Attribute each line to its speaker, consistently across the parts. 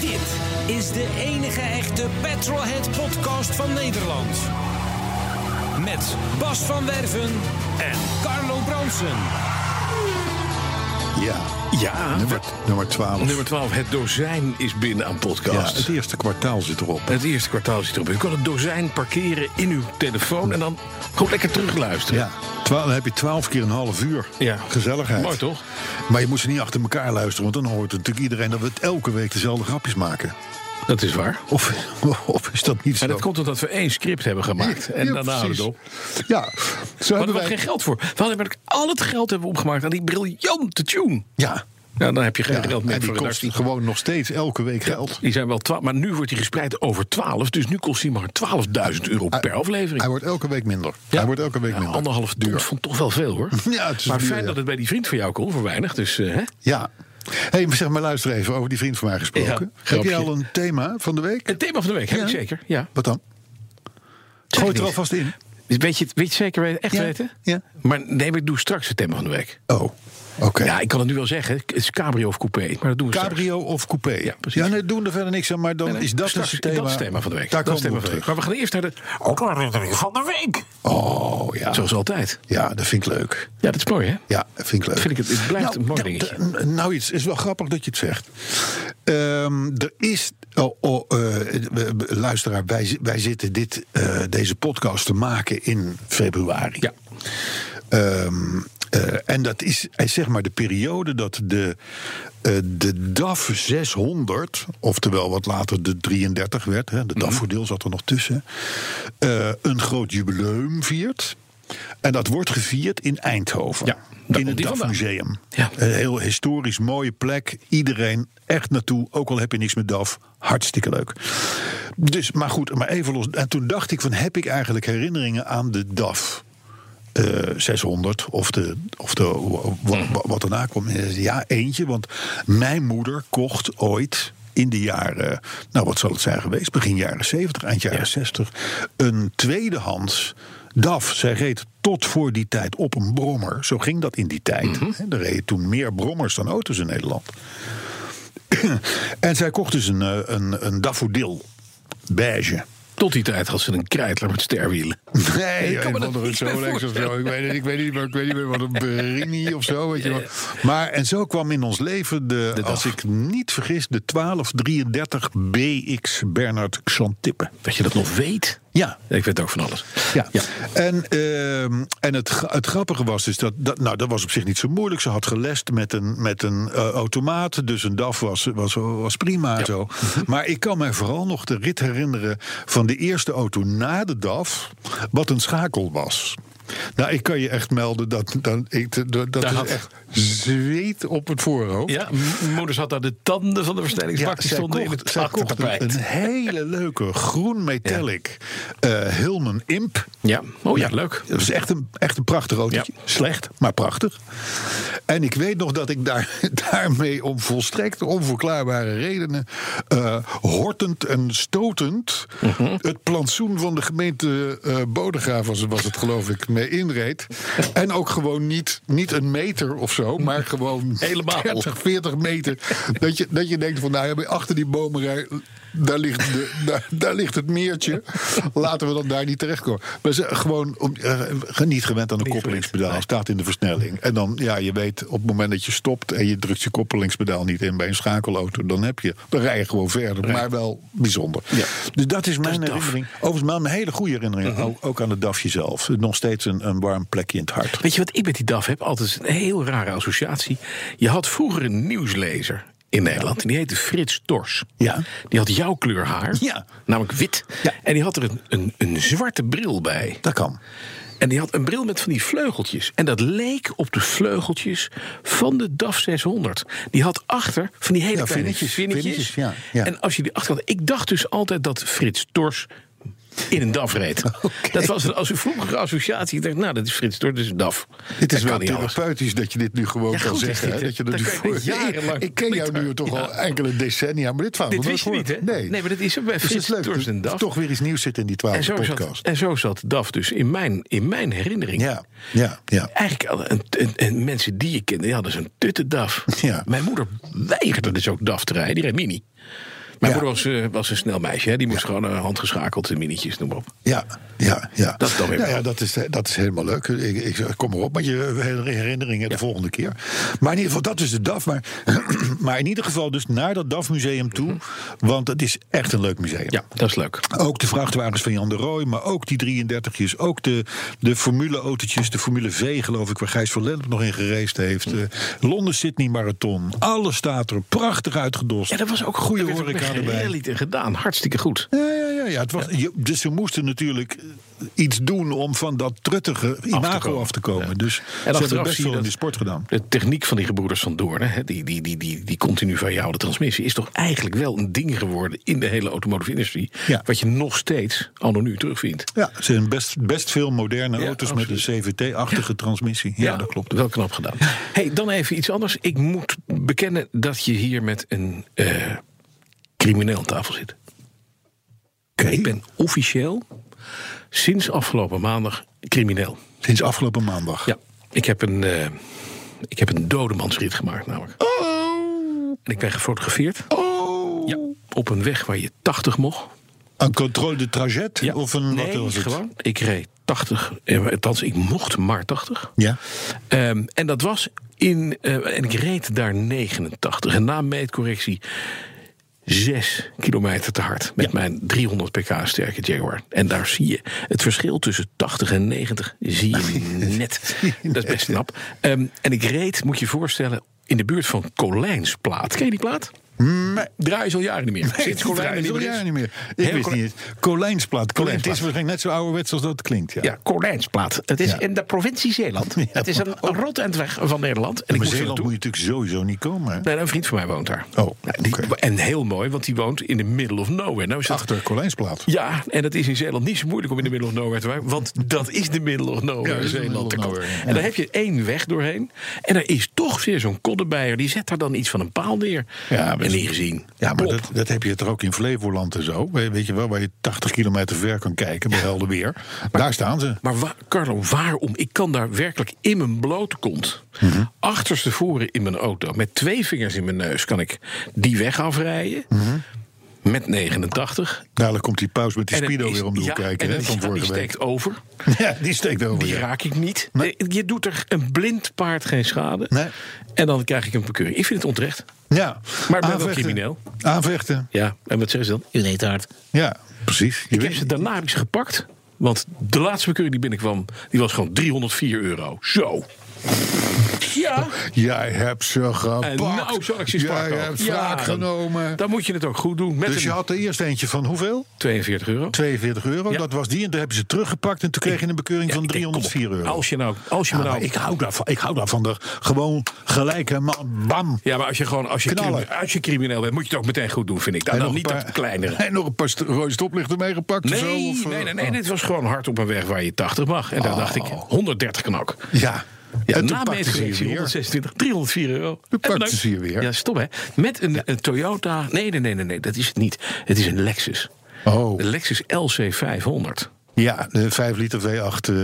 Speaker 1: Dit is de enige echte Petrolhead podcast van Nederland. Met Bas van Werven en Carlo Bronsen.
Speaker 2: Ja.
Speaker 3: Ja,
Speaker 2: Nummer, nummer 12.
Speaker 3: nummer 12. Het dozijn is binnen aan
Speaker 2: ja,
Speaker 3: podcast.
Speaker 2: het eerste kwartaal zit erop.
Speaker 3: het eerste kwartaal zit erop. U kan het dozijn parkeren in uw telefoon en dan gewoon lekker terugluisteren.
Speaker 2: Ja. Twa- dan heb je 12 keer een half uur.
Speaker 3: Ja.
Speaker 2: Gezelligheid.
Speaker 3: Mooi, toch?
Speaker 2: Maar je moet ze niet achter elkaar luisteren, want dan hoort natuurlijk iedereen dat we het elke week dezelfde grapjes maken.
Speaker 3: Dat is waar.
Speaker 2: Of, of is dat niet zo?
Speaker 3: En dat komt omdat we één script hebben gemaakt. En
Speaker 2: Ja,
Speaker 3: daarna houden we het op.
Speaker 2: precies. Ja, zo
Speaker 3: We hadden
Speaker 2: hebben
Speaker 3: we
Speaker 2: wij...
Speaker 3: geen geld voor. We hadden namelijk al het geld hebben we opgemaakt aan die briljante tune.
Speaker 2: Ja,
Speaker 3: Nou, dan heb je geen
Speaker 2: ja.
Speaker 3: geld
Speaker 2: en
Speaker 3: meer
Speaker 2: die
Speaker 3: voor
Speaker 2: kost
Speaker 3: redactie.
Speaker 2: gewoon nog steeds elke week geld.
Speaker 3: Die zijn wel 12, maar nu wordt die gespreid over 12. Dus nu kost hij maar 12.000 euro per aflevering.
Speaker 2: Hij wordt elke week minder.
Speaker 3: Ja.
Speaker 2: Hij wordt elke week
Speaker 3: Ja,
Speaker 2: minder.
Speaker 3: Anderhalf duur. Vond toch wel veel hoor.
Speaker 2: Ja, het is
Speaker 3: maar
Speaker 2: duur,
Speaker 3: fijn
Speaker 2: ja.
Speaker 3: dat het bij die vriend van jou kon voor weinig. Dus eh, hè?
Speaker 2: Ja. Hé, hey, zeg maar, luister even over die vriend van mij gesproken.
Speaker 3: Ja,
Speaker 2: heb
Speaker 3: grapje.
Speaker 2: jij al een thema van de week?
Speaker 3: het thema van de week heb
Speaker 2: Ja.
Speaker 3: ik zeker. Ja.
Speaker 2: Wat dan?
Speaker 3: Zeg
Speaker 2: Gooi
Speaker 3: het
Speaker 2: het er
Speaker 3: niet.
Speaker 2: alvast in.
Speaker 3: Weet je, het- weet je het zeker weten? Echt
Speaker 2: Ja,
Speaker 3: weten?
Speaker 2: ja.
Speaker 3: Maar nee, maar ik doe straks het thema van de week.
Speaker 2: Oh, oké.
Speaker 3: Ja, ik kan het nu wel zeggen. Het is cabrio of coupé. Maar dat doen we straks.
Speaker 2: Cabrio of coupé?
Speaker 3: Ja, precies.
Speaker 2: nee, doen er verder niks aan, maar dan
Speaker 3: Nee, nee,
Speaker 2: is dat
Speaker 3: straks-
Speaker 2: dus het thema.
Speaker 3: dat is het thema van de week.
Speaker 2: Daar
Speaker 3: dat is
Speaker 2: komen
Speaker 3: het
Speaker 2: we
Speaker 3: thema
Speaker 2: op
Speaker 3: van de week.
Speaker 2: terug.
Speaker 3: Maar we gaan eerst naar de autoherinnering van de week.
Speaker 2: Oh, ja.
Speaker 3: Zoals altijd.
Speaker 2: Ja, dat vind ik leuk.
Speaker 3: Ja, dat is mooi hè?
Speaker 2: Ja, dat vind ik leuk.
Speaker 3: Vind ik het- het blijft een mooi
Speaker 2: dat-
Speaker 3: dingetje.
Speaker 2: dat- Nou, iets is wel grappig dat je het zegt. Ehm, er is... Oh, oh, eh, we- we- luisteraar, wij, zi- wij zitten dit, eh, deze podcast te maken in februari.
Speaker 3: Ja.
Speaker 2: Ehm, eh, en dat is eh, zeg maar de periode dat de, eh, de DAF 600, oftewel wat later de 33 werd, hè, de
Speaker 3: Mhm.
Speaker 2: DAF-voordeel zat er nog tussen, eh, een groot jubileum viert. En dat wordt gevierd in Eindhoven,
Speaker 3: Ja, daar
Speaker 2: in
Speaker 3: komt
Speaker 2: het
Speaker 3: die vandaan.
Speaker 2: DAF-museum.
Speaker 3: Ja.
Speaker 2: Een heel historisch mooie plek. Iedereen echt naartoe, ook al heb je niks met DAF. Hartstikke leuk. Dus, maar goed, maar even los. En toen dacht ik van, heb ik eigenlijk herinneringen aan de DAF? eh, 600 of, de, of de, wat, wat daarna kwam. En hij zei, Ja, eentje, want mijn moeder kocht ooit in de jaren, nou wat zal het zijn geweest, begin jaren 70, eind jaren 60, een tweedehands DAF. Zij reed tot voor die tijd op een brommer. Zo ging dat in die tijd. Hè, Er reden toen meer brommers dan auto's in Nederland. en zij kocht dus een, eh, een, een daffodil. Beige.
Speaker 3: Tot die tijd had ze een krijtler met sterwielen.
Speaker 2: Nee,
Speaker 3: Ik kan me
Speaker 2: een
Speaker 3: dat
Speaker 2: van de
Speaker 3: niets meer
Speaker 2: Rolex of zo. Ik weet het, ik weet niet, maar ik weet niet meer wat een Berini of zo. Weet je wel. Maar en zo kwam in ons leven de, als
Speaker 3: dag.
Speaker 2: ik niet vergis, de 1233 BX Bernard Xantippe.
Speaker 3: Dat je dat nog weet.
Speaker 2: Ja.
Speaker 3: Ik weet ook van alles.
Speaker 2: Ja. En, ehm, en het, gra- het grappige was dus dat, dat. Nou, dat was op zich niet zo moeilijk. Ze had gelest met een, met een eh, automaat. Dus een DAF was, was, was prima en zo. Maar ik kan mij vooral nog de rit herinneren van de eerste auto na de DAF. Wat een schakel was. Nou, ik kan je echt melden dat. dat, ik, dat, dat
Speaker 3: Daar
Speaker 2: is
Speaker 3: had-
Speaker 2: echt zweet op het voorhoofd.
Speaker 3: Ja, m- moeders had daar de tanden van de
Speaker 2: Ja,
Speaker 3: versnellingsbak. die
Speaker 2: zij
Speaker 3: stonden in
Speaker 2: kocht-
Speaker 3: het
Speaker 2: zij kocht een,
Speaker 3: achtertapijt.
Speaker 2: een hele leuke groen metallic eh Hilman Imp.
Speaker 3: Ja, oh ja, leuk.
Speaker 2: Dat was echt een, echt een prachtig autootje.
Speaker 3: Ja.
Speaker 2: Slecht, maar prachtig. En ik weet nog dat ik daar, daarmee om volstrekt onverklaarbare redenen... eh, hortend en stotend het plantsoen van de gemeente eh Bodegraaf... Was, was het geloof ik, mee inreed. En ook gewoon niet, niet een meter of zo, maar gewoon
Speaker 3: Helemaal.
Speaker 2: 30, 40 meter. Dat je, dat je denkt van, nou ja, achter die bomenrij, daar ligt, de, daar, daar ligt het meertje. Laten we dan daar niet terechtkomen. Maar ze gewoon om, eh, niet gewend aan de koppelingspedaal. Staat in de versnelling. En dan, ja, je weet, op het moment dat je stopt en je drukt je koppelingspedaal niet in bij een schakelauto, dan heb je, dan rij je gewoon verder. Maar wel bijzonder. Dus dat is mijn
Speaker 3: DAF.
Speaker 2: herinnering. Overigens, wel een hele goede herinnering.
Speaker 3: Mhm.
Speaker 2: ook, ook aan het DAFje zelf. Nog steeds een, een warm plekje in het hart.
Speaker 3: Weet je wat ik met die DAF heb? Altijd een heel rare associatie. Je had vroeger een nieuwslezer. in Nederland. En die heette Frits Dors.
Speaker 2: Ja.
Speaker 3: Die had jouw kleur haar,
Speaker 2: Ja.
Speaker 3: namelijk wit.
Speaker 2: Ja.
Speaker 3: En die had er een, een, een zwarte bril bij.
Speaker 2: Dat kan.
Speaker 3: En die had een bril met van die vleugeltjes. En dat leek op de vleugeltjes van de DAF 600. Die had achter van die hele
Speaker 2: Ja,
Speaker 3: kleine
Speaker 2: vinnetjes,
Speaker 3: vinnetjes.
Speaker 2: vinnetjes, ja, ja.
Speaker 3: En als je die achterkant... Ik dacht dus altijd dat Frits Dors in een DAF reed. Dat was een, als een vroegere associatie. Ik dacht, nou, dat is Frits Dors, dat is een DAF.
Speaker 4: Dit is
Speaker 3: Dat
Speaker 4: wel
Speaker 3: kan niet anders.
Speaker 4: therapeutisch dat je dit nu gewoon
Speaker 3: Ja,
Speaker 4: kan
Speaker 3: goed is
Speaker 4: zeggen.
Speaker 3: dit,
Speaker 4: hè?
Speaker 3: hè?
Speaker 4: Dat je dat
Speaker 3: Dan
Speaker 4: nu
Speaker 3: kan je
Speaker 4: voor
Speaker 3: dit jarenlang
Speaker 4: Ik ken jou nu
Speaker 3: verplicht
Speaker 4: toch al
Speaker 3: houden.
Speaker 4: enkele decennia, maar dit verhaal
Speaker 3: Dit
Speaker 4: heb ik
Speaker 3: wist je
Speaker 4: nooit
Speaker 3: niet, hè?
Speaker 4: gehoord. Nee.
Speaker 3: maar dat is ook bij
Speaker 4: Dus het is
Speaker 3: Frits
Speaker 4: leuk
Speaker 3: Dors en
Speaker 4: dat er
Speaker 3: DAF.
Speaker 4: toch weer iets nieuws zit in die
Speaker 3: En
Speaker 4: twaalfde
Speaker 3: zo, zat,
Speaker 4: podcast.
Speaker 3: en zo zat DAF dus in mijn, in mijn herinnering.
Speaker 4: Ja, ja, ja.
Speaker 3: Eigenlijk al een, een- een- mensen die ik kende, die hadden zo'n tutte DAF.
Speaker 4: Ja.
Speaker 3: Mijn moeder weigerde dus ook DAF te rijden. Die reed mini. Mijn
Speaker 4: Ja.
Speaker 3: moeder was, eh, was een snel meisje. Hè? Die moest gewoon eh, handgeschakeld en minietjes, noem maar op.
Speaker 4: Ja, ja, ja.
Speaker 3: Dat is dan weer
Speaker 4: Nou
Speaker 3: wel.
Speaker 4: ja, dat,
Speaker 2: eh,
Speaker 4: is, dat is helemaal leuk. Ik, ik kom erop met je herinneringen de volgende keer.
Speaker 2: Maar in ieder geval, dat is de DAF. Maar, maar in ieder geval dus naar dat DAF-museum toe. Want het is echt een leuk museum.
Speaker 3: Mhm. Ja, dat is leuk.
Speaker 2: Ook de vrachtwagens van Jan de Rooij, maar ook die 33'tjes. Ook de, de formule-autootjes, de Formule V geloof ik... waar Gijs van Lennep nog in gereisd heeft.
Speaker 3: Mhm.
Speaker 2: eh, Londen-Sydney Marathon. Alles staat er prachtig uitgedost.
Speaker 3: Ja, dat was ook
Speaker 2: goede
Speaker 3: er werd ook
Speaker 2: horeca
Speaker 3: een
Speaker 2: erbij.
Speaker 3: rally te gedaan. Hartstikke goed.
Speaker 2: Ja, ja, ja. ja. Het was, je- dus ze moesten natuurlijk eh, iets doen om van dat truttige imago
Speaker 3: komen.
Speaker 2: af te komen.
Speaker 3: Ja.
Speaker 2: Dus
Speaker 3: En
Speaker 2: ze hebben
Speaker 3: achteraf
Speaker 2: best
Speaker 3: zie je
Speaker 2: veel
Speaker 3: dat-
Speaker 2: in de sport gedaan.
Speaker 3: De techniek van die gebroeders van Doornen, hè, die, die, die, die, die continu van jou de transmissie, is toch eigenlijk wel een ding geworden in de hele automotive industrie.
Speaker 2: Ja.
Speaker 3: Wat je nog steeds anno nu terugvindt.
Speaker 2: Ja, ze zijn best, best veel moderne
Speaker 3: Ja,
Speaker 2: auto's met een
Speaker 3: absoluut.
Speaker 2: CVT-achtige transmissie. Ja, dat klopt.
Speaker 3: Wel knap gedaan. Hey, dan even iets anders. Ik moet bekennen dat je hier met een eh, crimineel aan tafel zit. Ik ben officieel sinds afgelopen maandag crimineel.
Speaker 2: Sinds afgelopen maandag.
Speaker 3: Ja, ik heb een, eh, ik heb een dodemansrit gemaakt namelijk.
Speaker 2: Oh.
Speaker 3: En ik ben gefotografeerd. Ja, op een weg waar je 80 mocht.
Speaker 2: Een controle de trajet?
Speaker 3: Ja.
Speaker 2: Of een,
Speaker 3: nee,
Speaker 2: wat was het?
Speaker 3: gewoon. Ik reed 80. eh, Althans, ik mocht maar 80.
Speaker 2: Ja.
Speaker 3: Ehm, en dat was in. eh, en ik reed daar 89. En na meetcorrectie. 6 kilometer te hard met mijn 300 pk sterke Jaguar. En daar zie je het verschil tussen 80 en 90 zie je net. Dat is best knap. Ehm, en ik reed, moet je je voorstellen, in de buurt van Colijnsplaat. Ken je die plaat? Draai is al jaren niet meer. Sinds
Speaker 2: Ik
Speaker 3: Colijn er
Speaker 2: niet,
Speaker 3: is.
Speaker 2: niet meer. Ik
Speaker 3: Heel
Speaker 2: wist
Speaker 3: Colijn-
Speaker 2: niet eens. Colijnsplaat. Colijn, het is
Speaker 3: Colijnsplaat.
Speaker 2: waarschijnlijk net zo ouderwets als dat het klinkt. Ja.
Speaker 3: Ja, Colijnsplaat. Het is
Speaker 2: Ja. Oh.
Speaker 3: in de provincie Zeeland. het is een rot eind weg van Nederland. En ik
Speaker 2: Maar
Speaker 3: moest er
Speaker 2: Zeeland
Speaker 3: naartoe.
Speaker 2: moet je natuurlijk sowieso niet komen. hè?
Speaker 3: Nee, een vriend van mij woont daar.
Speaker 2: Oh,
Speaker 3: Nou, die-
Speaker 2: oké.
Speaker 3: En heel mooi, want die woont in de middle of nowhere. Nou is dat,
Speaker 2: Achter Colijnsplaat.
Speaker 3: Ja, en dat is in Zeeland niet zo moeilijk om in de middle of nowhere te wonen. Want dat is de middle of nowhere
Speaker 2: Ja, dat
Speaker 3: in
Speaker 2: is de
Speaker 3: Zeeland.
Speaker 2: middle of
Speaker 3: te
Speaker 2: nowhere,
Speaker 3: komen. En daar heb je één weg doorheen. En er is toch weer zo'n koddenbijer. Die zet daar dan iets van een paal neer.
Speaker 2: Ja, maar-
Speaker 3: en niet gezien.
Speaker 2: Ja, maar
Speaker 3: Plop.
Speaker 2: dat, dat heb je toch ook in Flevoland en zo. We- Weet je wel, waar je 80 kilometer ver kan kijken bij helder weer. Daar staan ze.
Speaker 3: Maar wa- Carlo, waarom? Ik kan daar werkelijk in mijn blote kont...
Speaker 2: Mhm.
Speaker 3: achterstevoren in mijn auto... met twee vingers in mijn neus kan ik die weg afrijden...
Speaker 2: Mhm.
Speaker 3: met 89.
Speaker 2: Dadelijk komt die paus met die
Speaker 3: En dan
Speaker 2: speedo
Speaker 3: is-
Speaker 2: weer om de hoek
Speaker 3: ja,
Speaker 2: kijken
Speaker 3: en
Speaker 2: hè,
Speaker 3: dan-
Speaker 2: van
Speaker 3: ja,
Speaker 2: vorige
Speaker 3: die
Speaker 2: week.
Speaker 3: steekt over.
Speaker 2: Ja, die steekt over.
Speaker 3: Die
Speaker 2: ja.
Speaker 3: raak ik niet.
Speaker 2: Nee.
Speaker 3: Eh, Je doet er een blind paard geen schade.
Speaker 2: Nee.
Speaker 3: En dan krijg ik een bekeuring. Ik vind het onterecht.
Speaker 2: Ja.
Speaker 3: ben wel
Speaker 2: Aanvechten.
Speaker 3: crimineel.
Speaker 2: Aanvechten.
Speaker 3: Ja, en wat zeggen ze dan? U reed hard.
Speaker 2: Ja, precies. Je
Speaker 3: Ik heb
Speaker 2: weet,
Speaker 3: ze, daarna heb ik ze gepakt. Want de laatste bekeuring die binnenkwam, die was gewoon 304 euro. Zo. Ja.
Speaker 2: jij hebt ze gepakt.
Speaker 3: En nou zal ik ze eens
Speaker 2: Jij
Speaker 3: pakken.
Speaker 2: hebt
Speaker 3: Ja,
Speaker 2: wraak
Speaker 3: dan-
Speaker 2: genomen.
Speaker 3: Dan moet je het ook goed doen. Met
Speaker 2: Dus je
Speaker 3: een
Speaker 2: had er eerst eentje van hoeveel?
Speaker 3: 42 euro.
Speaker 2: 42 euro.
Speaker 3: Ja.
Speaker 2: Dat was die. En toen hebben ze teruggepakt. En toen kreeg je een bekeuring
Speaker 3: Ja,
Speaker 2: van
Speaker 3: ik denk, kom op.
Speaker 2: 304 euro.
Speaker 3: Als je nou... Als je
Speaker 2: Ja,
Speaker 3: me nou
Speaker 2: maar ik hou daarvan. Ik hou daarvan. De, gewoon gelijke man. Bam.
Speaker 3: ja, maar als je gewoon als je,
Speaker 2: Knallen.
Speaker 3: crimineel, als je crimineel bent, moet je het ook meteen goed doen, vind ik. Dan, dan
Speaker 2: een
Speaker 3: niet
Speaker 2: paar-
Speaker 3: dat kleinere.
Speaker 2: En nog een paar st- rode stoplichten meegepakt of
Speaker 3: Nee,
Speaker 2: zo? Of, eh,
Speaker 3: nee, nee, nee, dit was gewoon hard op een weg waar je 80 mag. En daar dacht ik, 130 kan ook.
Speaker 2: Ja.
Speaker 3: Ja,
Speaker 2: Oh. en
Speaker 3: na
Speaker 2: toen pakte ze je
Speaker 3: meetcorrectie
Speaker 2: weer.
Speaker 3: 126, 304 euro.
Speaker 2: Toen
Speaker 3: En
Speaker 2: pakte
Speaker 3: bedankt.
Speaker 2: ze je weer.
Speaker 3: Ja, stom hè. Met een, een Toyota. Nee, nee, nee, nee, nee, dat is het niet. Het is een Lexus.
Speaker 2: Oh,
Speaker 3: De Lexus LC500.
Speaker 2: ja, de 5 liter V8 eh,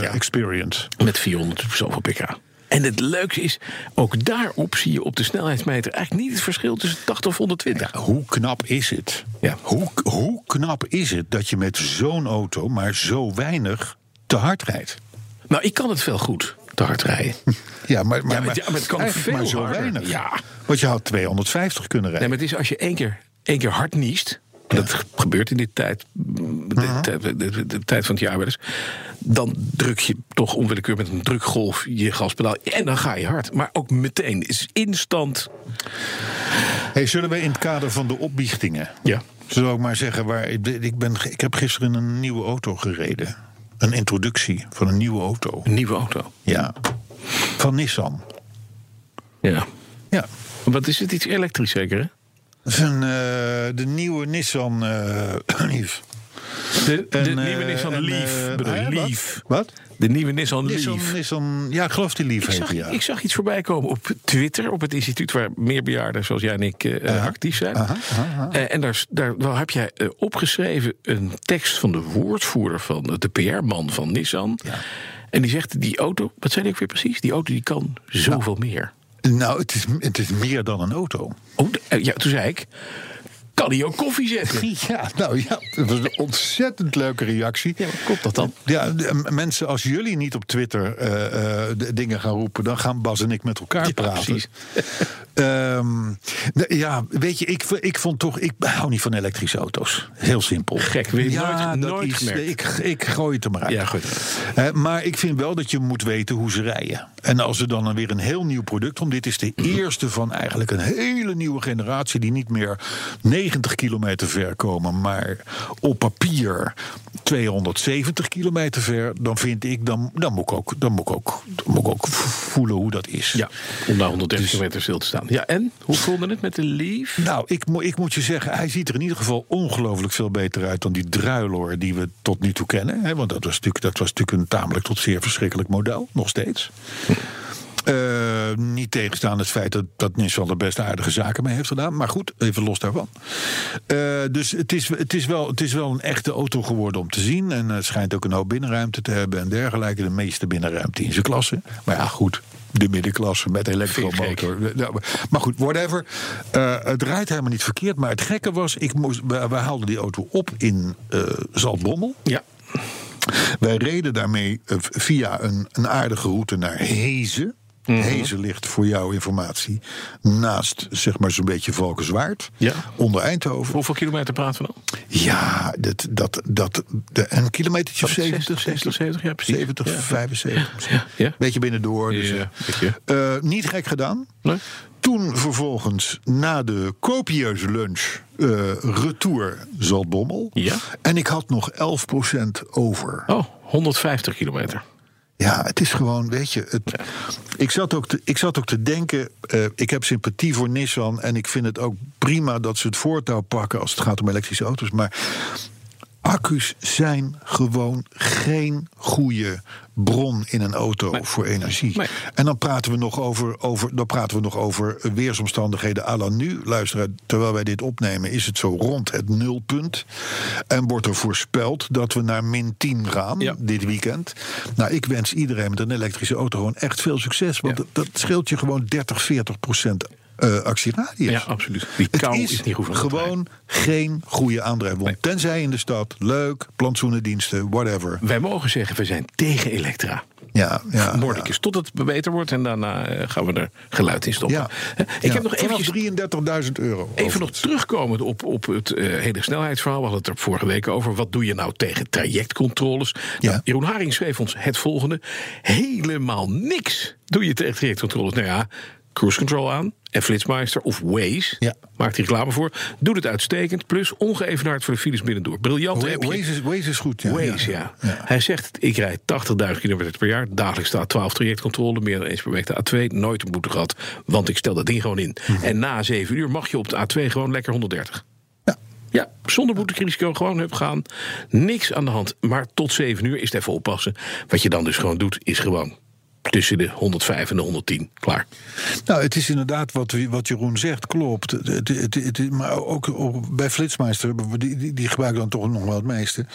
Speaker 3: Ja.
Speaker 2: Experience.
Speaker 3: Met 400 zoveel pk. En het leuke is, ook daarop zie je op de snelheidsmeter eigenlijk niet het verschil tussen 80 of 120.
Speaker 2: Hoe knap is het?
Speaker 3: Ja.
Speaker 2: Hoe, hoe knap is het dat je met zo'n auto maar zo weinig te hard rijdt?
Speaker 3: Nou, ik kan het veel goed, te hard rijden.
Speaker 2: Ja, maar, maar,
Speaker 3: Ja, maar- ja, maar het kan
Speaker 2: eigenlijk
Speaker 3: veel
Speaker 2: maar zo
Speaker 3: harder.
Speaker 2: weinig.
Speaker 3: Ja.
Speaker 2: Want je had 250 kunnen
Speaker 3: Nee,
Speaker 2: rijden.
Speaker 3: maar het is als je één keer, één keer hard niest. Dat gebeurt in dit tijd,
Speaker 2: Mhm.
Speaker 3: de, de- de- de tijd van het jaar wel eens. Dan druk je toch onwillekeurig met een drukgolf je gaspedaal. En dan ga je hard. Maar ook meteen. Het is instant.
Speaker 2: Hey, zullen we in het kader van de opbiechtingen.
Speaker 3: Ja.
Speaker 2: Zullen we ook maar zeggen waar. Ik, ben- ik, ben, ge- ik heb gisteren een nieuwe auto gereden. Een introductie van een nieuwe auto.
Speaker 3: Een nieuwe auto.
Speaker 2: Ja. Van Nissan.
Speaker 3: Ja.
Speaker 2: Ja.
Speaker 3: Wat is het? Iets elektrisch zeker, hè?
Speaker 2: Dat is een, eh, de nieuwe Nissan eh Leaf.
Speaker 3: De, de
Speaker 2: En,
Speaker 3: nieuwe
Speaker 2: eh,
Speaker 3: Nissan
Speaker 2: en,
Speaker 3: Leaf.
Speaker 2: eh,
Speaker 3: bedoel je?
Speaker 2: ah, wat?
Speaker 3: Leaf.
Speaker 2: Wat?
Speaker 3: De nieuwe Nissan
Speaker 2: Nissan,
Speaker 3: Leaf.
Speaker 2: Nissan, ja, ik geloof die Leaf
Speaker 3: Ik
Speaker 2: heet
Speaker 3: zag,
Speaker 2: die, ja.
Speaker 3: ik zag iets voorbij komen op Twitter, op het instituut waar meer bejaarden zoals jij en ik eh, actief zijn. Eh, en daar, is- daar, daar heb jij eh, opgeschreven een tekst van de woordvoerder van eh, de PR-man van Nissan. En die zegt: die auto, wat zei die ook weer precies? Die auto die kan zoveel meer.
Speaker 2: Nou, het is, het is meer dan een auto.
Speaker 3: Oh, de- eh, ja, toen zei ik: kan hij ook koffie zetten?
Speaker 2: Ja, nou ja, dat was een ontzettend leuke reactie.
Speaker 3: Ja, maar klopt dat dan?
Speaker 2: Ja, de- m- mensen, als jullie niet op Twitter eh, eh, de- dingen gaan roepen, dan gaan Bas en ik met elkaar
Speaker 3: Ja,
Speaker 2: praten.
Speaker 3: precies.
Speaker 2: Ehm, nou, ja, weet je, ik, v- ik vond toch, ik hou niet van elektrische auto's. Heel simpel.
Speaker 3: Gek, weer
Speaker 2: ja,
Speaker 3: nooit-
Speaker 2: dat
Speaker 3: nooit
Speaker 2: is-
Speaker 3: gemerkt.
Speaker 2: Ik, ik gooi het er maar uit.
Speaker 3: Ja, goed.
Speaker 2: Eh, maar ik vind wel dat je moet weten hoe ze rijden. En als er dan weer een heel nieuw product om. Dit is de eerste van eigenlijk een hele nieuwe generatie. die niet meer 90 kilometer ver komen. maar op papier 270 kilometer ver. dan vind ik, dan, dan, moet, ik ook, dan, moet, ik ook, dan moet ik ook voelen hoe dat is.
Speaker 3: Ja, om daar 130 kilometer stil te staan. Ja, en hoe vond je het met de Leaf?
Speaker 2: Nou, ik, mo- ik moet je zeggen, hij ziet er in ieder geval ongelooflijk veel beter uit dan die druiloor die we tot nu toe kennen. Hè? Want dat was, natuurlijk, dat was natuurlijk een tamelijk tot zeer verschrikkelijk model, nog steeds. Eh, niet tegenstaan het feit dat, dat Nissan er best aardige zaken mee heeft gedaan. Maar goed, even los daarvan. Eh, dus het is, het, is wel, het is wel een echte auto geworden om te zien. En het schijnt ook een hoop binnenruimte te hebben en dergelijke. De meeste binnenruimte in zijn klasse. Maar ja, goed. De middenklasse met elektromotor. Ja, maar- Maar goed, whatever. Eh, het rijdt helemaal niet verkeerd. Maar het gekke was, ik moest, we, we haalden die auto op in eh Zaltbommel.
Speaker 3: Ja,
Speaker 2: Wij reden daarmee eh, via een, een aardige route naar Hezen.
Speaker 3: Mhm.
Speaker 2: Hezen ligt voor jouw informatie naast, zeg maar, zo'n beetje Valkenswaard.
Speaker 3: Ja.
Speaker 2: Onder Eindhoven.
Speaker 3: hoeveel kilometer praten we dan?
Speaker 2: Ja, dat, dat, dat, de, een kilometertje of 70,
Speaker 3: 60,
Speaker 2: 60,
Speaker 3: 70, ja, precies.
Speaker 2: 70,
Speaker 3: Ja.
Speaker 2: 75.
Speaker 3: Ja, ja.
Speaker 2: Beetje binnendoor. Dus,
Speaker 3: Ja,
Speaker 2: eh,
Speaker 3: beetje.
Speaker 2: eh, niet gek gedaan.
Speaker 3: Leuk.
Speaker 2: Toen vervolgens, na de copieuze lunch, eh retour Zaltbommel.
Speaker 3: Ja.
Speaker 2: En ik had nog 11% over.
Speaker 3: Oh, 150 kilometer.
Speaker 2: Ja, het is gewoon, weet je. Het, ik, zat ook te, ik zat ook te denken. eh, ik heb sympathie voor Nissan. En ik vind het ook prima dat ze het voortouw pakken als het gaat om elektrische auto's. Maar accu's zijn gewoon geen goede bron in een auto voor energie.
Speaker 3: Nee.
Speaker 2: En dan praten we nog over, over, dan praten we nog over weersomstandigheden à la nu. Luisteraar, terwijl wij dit opnemen, is het zo rond het nulpunt. En wordt er voorspeld dat we naar min 10 gaan
Speaker 3: Ja.
Speaker 2: dit weekend. Nou, ik wens iedereen met een elektrische auto gewoon echt veel succes. Want
Speaker 3: Ja.
Speaker 2: dat, dat scheelt je gewoon 30, 40 procent eh, actieradius.
Speaker 3: Ja, absoluut. Die
Speaker 2: Het
Speaker 3: kou
Speaker 2: is,
Speaker 3: is niet goed voor de
Speaker 2: gewoon geen goede aandrijfbron. Tenzij in de stad, leuk, plantsoenendiensten, whatever.
Speaker 3: Wij mogen zeggen, we zijn tegen Elektra.
Speaker 2: Ja, Ah, ja.
Speaker 3: Mordicus, totdat het beter wordt en daarna eh, gaan we er geluid in stoppen.
Speaker 2: Ja.
Speaker 3: Eh, Ik
Speaker 2: Ja.
Speaker 3: heb nog
Speaker 2: Vanaf
Speaker 3: eventjes,
Speaker 2: 33.000 euro.
Speaker 3: even nog terugkomend op, op het eh, hele snelheidsverhaal. We hadden het er vorige week over. Wat doe je nou tegen trajectcontroles?
Speaker 2: Ja.
Speaker 3: Nou, Jeroen Haring schreef ons het volgende. Helemaal niks doe je tegen trajectcontroles. Nou ja, cruise control aan en Flitsmeister of Waze.
Speaker 2: Ja.
Speaker 3: Maakt die reclame voor. Doet het uitstekend. Plus ongeëvenaard voor de files binnendoor. Briljant
Speaker 2: Wa-
Speaker 3: appje.
Speaker 2: Waze is, Waze is goed, ja.
Speaker 3: Waze, ja. Hij zegt, ik rijd 80.000 kilometer per jaar. Dagelijks staat 12 trajectcontrole, meer dan eens per week de A2. Nooit een boete gehad, want ik stel dat ding gewoon in. En na 7 uur mag je op de A2 gewoon lekker 130.
Speaker 2: Ja.
Speaker 3: Ja, zonder boetekrisico gewoon heb gaan. Niks aan de hand. Maar tot 7 uur is het even oppassen. Wat je dan dus gewoon doet, is gewoon tussen de 105 en de 110. Klaar.
Speaker 2: Nou, het is inderdaad wat, wat Jeroen zegt, klopt. Het, het, het, het- maar ook op- bij Flitsmeister, hebben we die, die, die gebruiken dan toch nog wel het meeste.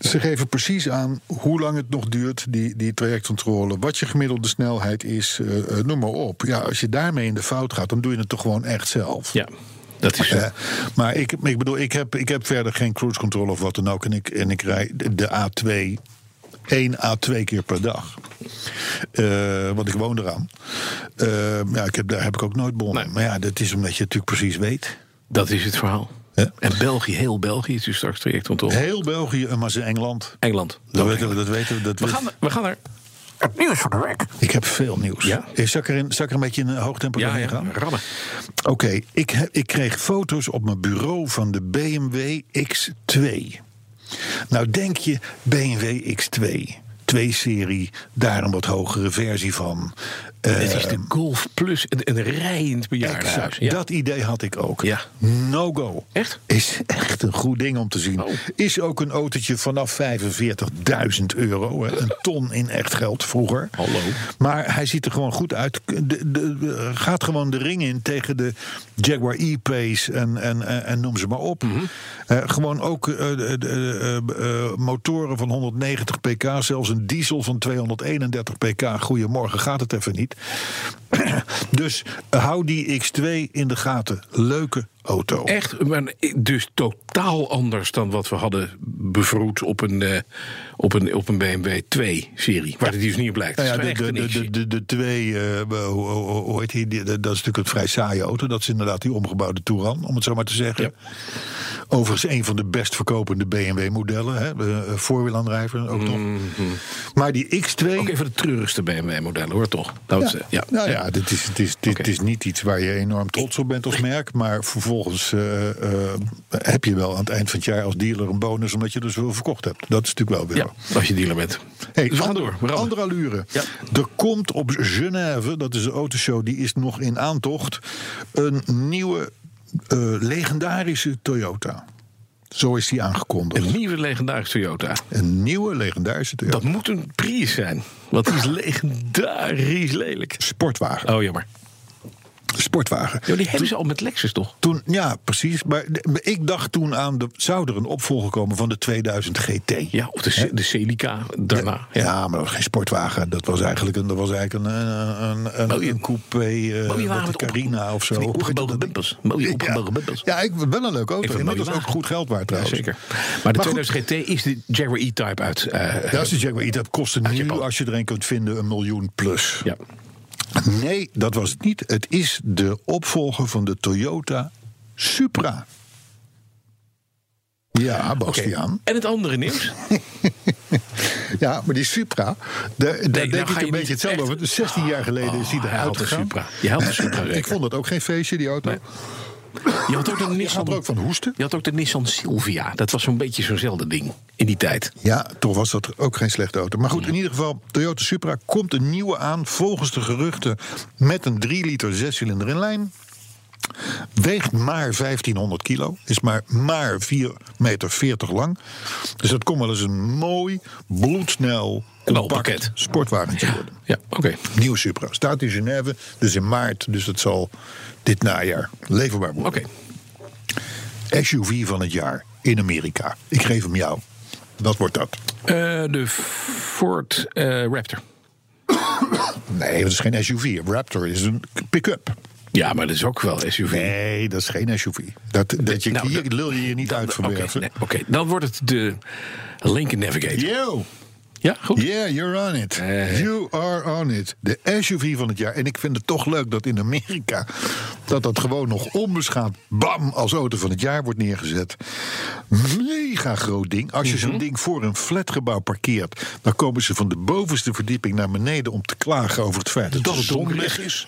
Speaker 2: Ze geven precies aan hoe lang het nog duurt, die, die trajectcontrole. Wat je gemiddelde snelheid is, eh, eh, noem maar op. Ja, als je daarmee in de fout gaat, dan doe je het toch gewoon echt zelf.
Speaker 3: Ja, dat is...
Speaker 2: Eh, maar ik, ik bedoel, ik heb, ik heb verder geen cruise control of wat dan ook. En ik, en ik rij de- de A2, 1 A2 keer per dag. Eh, want ik woon eraan. Eh, ja, ik heb, daar heb ik ook nooit bonnen.
Speaker 3: Nee.
Speaker 2: Maar ja, dat is omdat je het natuurlijk precies weet.
Speaker 3: Dat is het verhaal.
Speaker 4: Ja.
Speaker 3: En België, heel België, is dus straks traject van Tol.
Speaker 2: Heel België, maar ze Engeland.
Speaker 3: Engeland.
Speaker 2: Dat weten we. Dat weten we, dat
Speaker 3: We
Speaker 2: weet-
Speaker 3: gaan, we gaan naar het nieuws van de week.
Speaker 2: Ik heb veel nieuws.
Speaker 3: Ja?
Speaker 2: Eh, Zal, ik er in, zal ik er een beetje in een hoog tempo
Speaker 3: Ja,
Speaker 2: doorheen
Speaker 3: ja,
Speaker 2: gaan?
Speaker 3: rammen.
Speaker 2: Oké, ik, he- ik kreeg foto's op mijn bureau van de BMW X2. Nou denk je, BMW X2, 2-serie, daar een wat hogere versie van.
Speaker 3: Het
Speaker 2: Eh,
Speaker 3: is de Golf Plus, een, een rijend bejaardenhuis.
Speaker 2: Exact,
Speaker 3: Ja.
Speaker 2: dat idee had ik ook.
Speaker 3: Ja.
Speaker 2: No go.
Speaker 3: Echt?
Speaker 2: Is echt een goed ding om te zien.
Speaker 3: Oh.
Speaker 2: Is ook een autootje vanaf 45.000 euro. hè. Een ton in echt geld vroeger.
Speaker 3: Hallo.
Speaker 2: Maar hij ziet er gewoon goed uit. De, de, de- gaat gewoon de ring in tegen de Jaguar E-Pace en, en, en, en noem ze maar op.
Speaker 3: Mhm.
Speaker 2: Eh, gewoon ook eh, de- de- eh, eh, motoren van 190 pk. Zelfs een diesel van 231 pk. Goedemorgen, gaat het even niet. Dus hou die X2 in de gaten. Leuke auto.
Speaker 3: Echt, maar dus totaal anders dan wat we hadden bevroed op een, eh, op een, op een BMW 2-serie. Waar het dus niet op lijkt.
Speaker 2: Nou
Speaker 3: Het is
Speaker 2: ja,
Speaker 3: echt
Speaker 2: de,
Speaker 3: een
Speaker 2: de,
Speaker 3: X'je.
Speaker 2: de, de, de twee, eh, hoe, hoe- hoe heet die? Die- Dat is natuurlijk een vrij saaie auto. Dat is inderdaad die omgebouwde Touran, om het zo maar te zeggen. Overigens een van de best verkopende BMW-modellen. hè. Eh, Voorwielaandrijver ook nog. Maar die X2...
Speaker 3: Mhm. Ook even de treurigste BMW-modellen hoor, toch? Dat is, eh, ja.
Speaker 2: Nou ja, dit is, dit, is, dit
Speaker 3: Oké.
Speaker 2: is niet iets waar je enorm trots op bent als merk. Maar vervolgens eh, eh, heb je wel aan het eind van het jaar als dealer een bonus. omdat je er zoveel verkocht hebt. Dat is natuurlijk wel weer.
Speaker 3: Ja,
Speaker 2: zo.
Speaker 3: als je dealer bent.
Speaker 2: Hey,
Speaker 3: dus we gaan
Speaker 2: ander-
Speaker 3: door. We rammen.
Speaker 2: Andere allure. Er komt op Genève, dat is een autoshow, die is nog in aantocht. een nieuwe eh, legendarische Toyota. Zo is die aangekondigd.
Speaker 3: Een nieuwe legendarische Toyota.
Speaker 2: Een nieuwe legendarische Toyota.
Speaker 3: Dat moet een Prius zijn. Want die is legendarisch lelijk.
Speaker 2: Sportwagen.
Speaker 3: Oh, jammer. Oh.
Speaker 2: Sportwagen.
Speaker 3: Ja, die hebben ze al met Lexus, toch?
Speaker 2: Toen, ja, precies. Maar de- ik dacht toen aan, de, zou er een opvolger komen van de 2000 GT?
Speaker 3: Ja, of de, Ce- de Celica daarna.
Speaker 2: Ja, maar dat was geen sportwagen. Dat was eigenlijk een, dat was eigenlijk een, een, een,
Speaker 3: Mooie-
Speaker 2: een coupé, eh,
Speaker 3: Mooie
Speaker 2: wat
Speaker 3: Oh, waren
Speaker 2: een
Speaker 3: met
Speaker 2: Carina
Speaker 3: opge-
Speaker 2: of zo.
Speaker 3: van die
Speaker 2: Hoe heet
Speaker 3: opgebogen
Speaker 2: dat ding?
Speaker 3: bumpers. Mooie opgebogen bumpers.
Speaker 2: Ja, ik, wel een leuke auto.
Speaker 3: Even een
Speaker 2: Inmiddels
Speaker 3: mooie
Speaker 2: ook
Speaker 3: wagen.
Speaker 2: goed geld waard trouwens.
Speaker 3: Zeker. Maar de
Speaker 2: goed.
Speaker 3: 2000 GT is de Jaguar E-Type uit. eh,
Speaker 2: Ja, is de Jaguar E-Type kostte nu,
Speaker 3: Japan.
Speaker 2: als je er een kunt vinden, een miljoen plus.
Speaker 3: ja.
Speaker 2: Nee, dat was het niet. Het is de opvolger van de Toyota Supra. Ja,
Speaker 3: Oké.
Speaker 2: Bastiaan.
Speaker 3: En het andere nieuws?
Speaker 2: Ja, maar die Supra, daar daar
Speaker 3: nou
Speaker 2: denk
Speaker 3: ga
Speaker 2: ik
Speaker 3: je
Speaker 2: een beetje
Speaker 3: niet
Speaker 2: hetzelfde
Speaker 3: echt-
Speaker 2: over. 16 jaar geleden is die
Speaker 3: Oh, hij
Speaker 2: eruit
Speaker 3: had een
Speaker 2: gegaan.
Speaker 3: Supra. Je had een Supra.
Speaker 2: Ik
Speaker 3: zeker.
Speaker 2: vond het ook geen feestje, die auto.
Speaker 3: Nee. Je had ook de
Speaker 2: Je gaat
Speaker 3: Nissan.
Speaker 2: er ook van hoesten.
Speaker 3: Je had ook de Nissan Silvia. Dat was zo'n beetje zo'nzelfde ding in die tijd.
Speaker 2: Ja, toch was dat ook geen slechte auto. Maar goed, in ieder geval, Toyota Supra komt een nieuwe aan... volgens de geruchten met een 3 liter zescilinder in lijn. Weegt maar 1500 kilo. Is maar, maar 4,40 meter lang. Dus dat kon wel eens een mooi, bloedsnel, compact
Speaker 3: Knalpakket.
Speaker 2: sportwagentje worden.
Speaker 3: Ja, oké.
Speaker 2: Nieuwe Supra. Staat in Genève, dus in maart. Dus dat zal dit najaar leverbaar worden.
Speaker 3: Oké.
Speaker 2: SUV van het jaar in Amerika. Ik geef hem jou. Wat wordt dat?
Speaker 3: Eh, de Ford eh, Raptor.
Speaker 2: Nee, dat is geen SUV. Een Raptor is een pick-up.
Speaker 3: Ja, maar dat is ook wel SUV.
Speaker 2: Nee, dat is geen SUV. Dat, dat je,
Speaker 3: Nou,
Speaker 2: hier
Speaker 3: dat-
Speaker 2: lul je je niet uit
Speaker 3: Oké,
Speaker 2: verbergen.
Speaker 3: nee, oké. dan wordt het de Lincoln Navigator.
Speaker 2: Yo!
Speaker 3: Ja, goed.
Speaker 2: Yeah, you're on it.
Speaker 3: Eh.
Speaker 2: You are on it. De SUV van het jaar. En ik vind het toch leuk dat in Amerika... dat dat gewoon nog onbeschaamd bam als auto van het jaar wordt neergezet. Mega groot ding. Als je zo'n
Speaker 3: Mhm.
Speaker 2: ding voor een flatgebouw parkeert... dan komen ze van de bovenste verdieping naar beneden... om te klagen over het feit dat,
Speaker 3: Dat
Speaker 2: de
Speaker 3: het
Speaker 2: zon
Speaker 3: donker
Speaker 2: weg is.